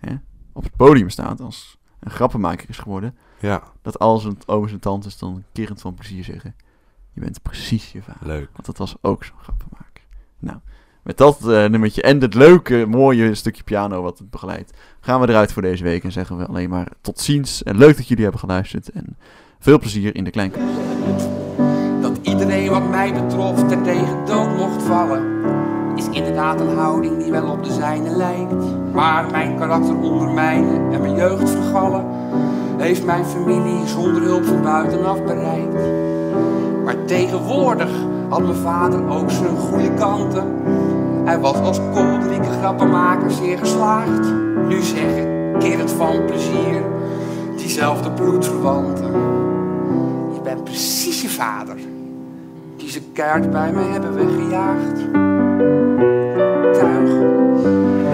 Speaker 2: hè, op het podium staat als een grappenmaker is geworden,
Speaker 1: Ja,
Speaker 2: dat al zijn ooms en tantes dan kerend van plezier zeggen, je bent precies je vader.
Speaker 1: leuk.
Speaker 2: Want dat was ook zo'n grappenmaker. Nou, met dat eh, nummertje en dit leuke, mooie stukje piano wat het begeleidt, gaan we eruit voor deze week en zeggen we alleen maar tot ziens. En leuk dat jullie hebben geluisterd en veel plezier in de kleinkunst.
Speaker 4: Dat iedereen wat mij betrof ter tegen dood mocht vallen Is inderdaad een houding die wel op de zijne lijkt Maar mijn karakter ondermijnen en mijn jeugd vergallen Heeft mijn familie zonder hulp van buitenaf bereikt Maar tegenwoordig had mijn vader ook zijn goede kanten Hij was als kolderieke grappenmaker zeer geslaagd Nu zeggen, kerend van plezier Diezelfde bloedverwanten je bent precies je vader. Die zijn kaart bij me hebben weggejaagd. Tuig.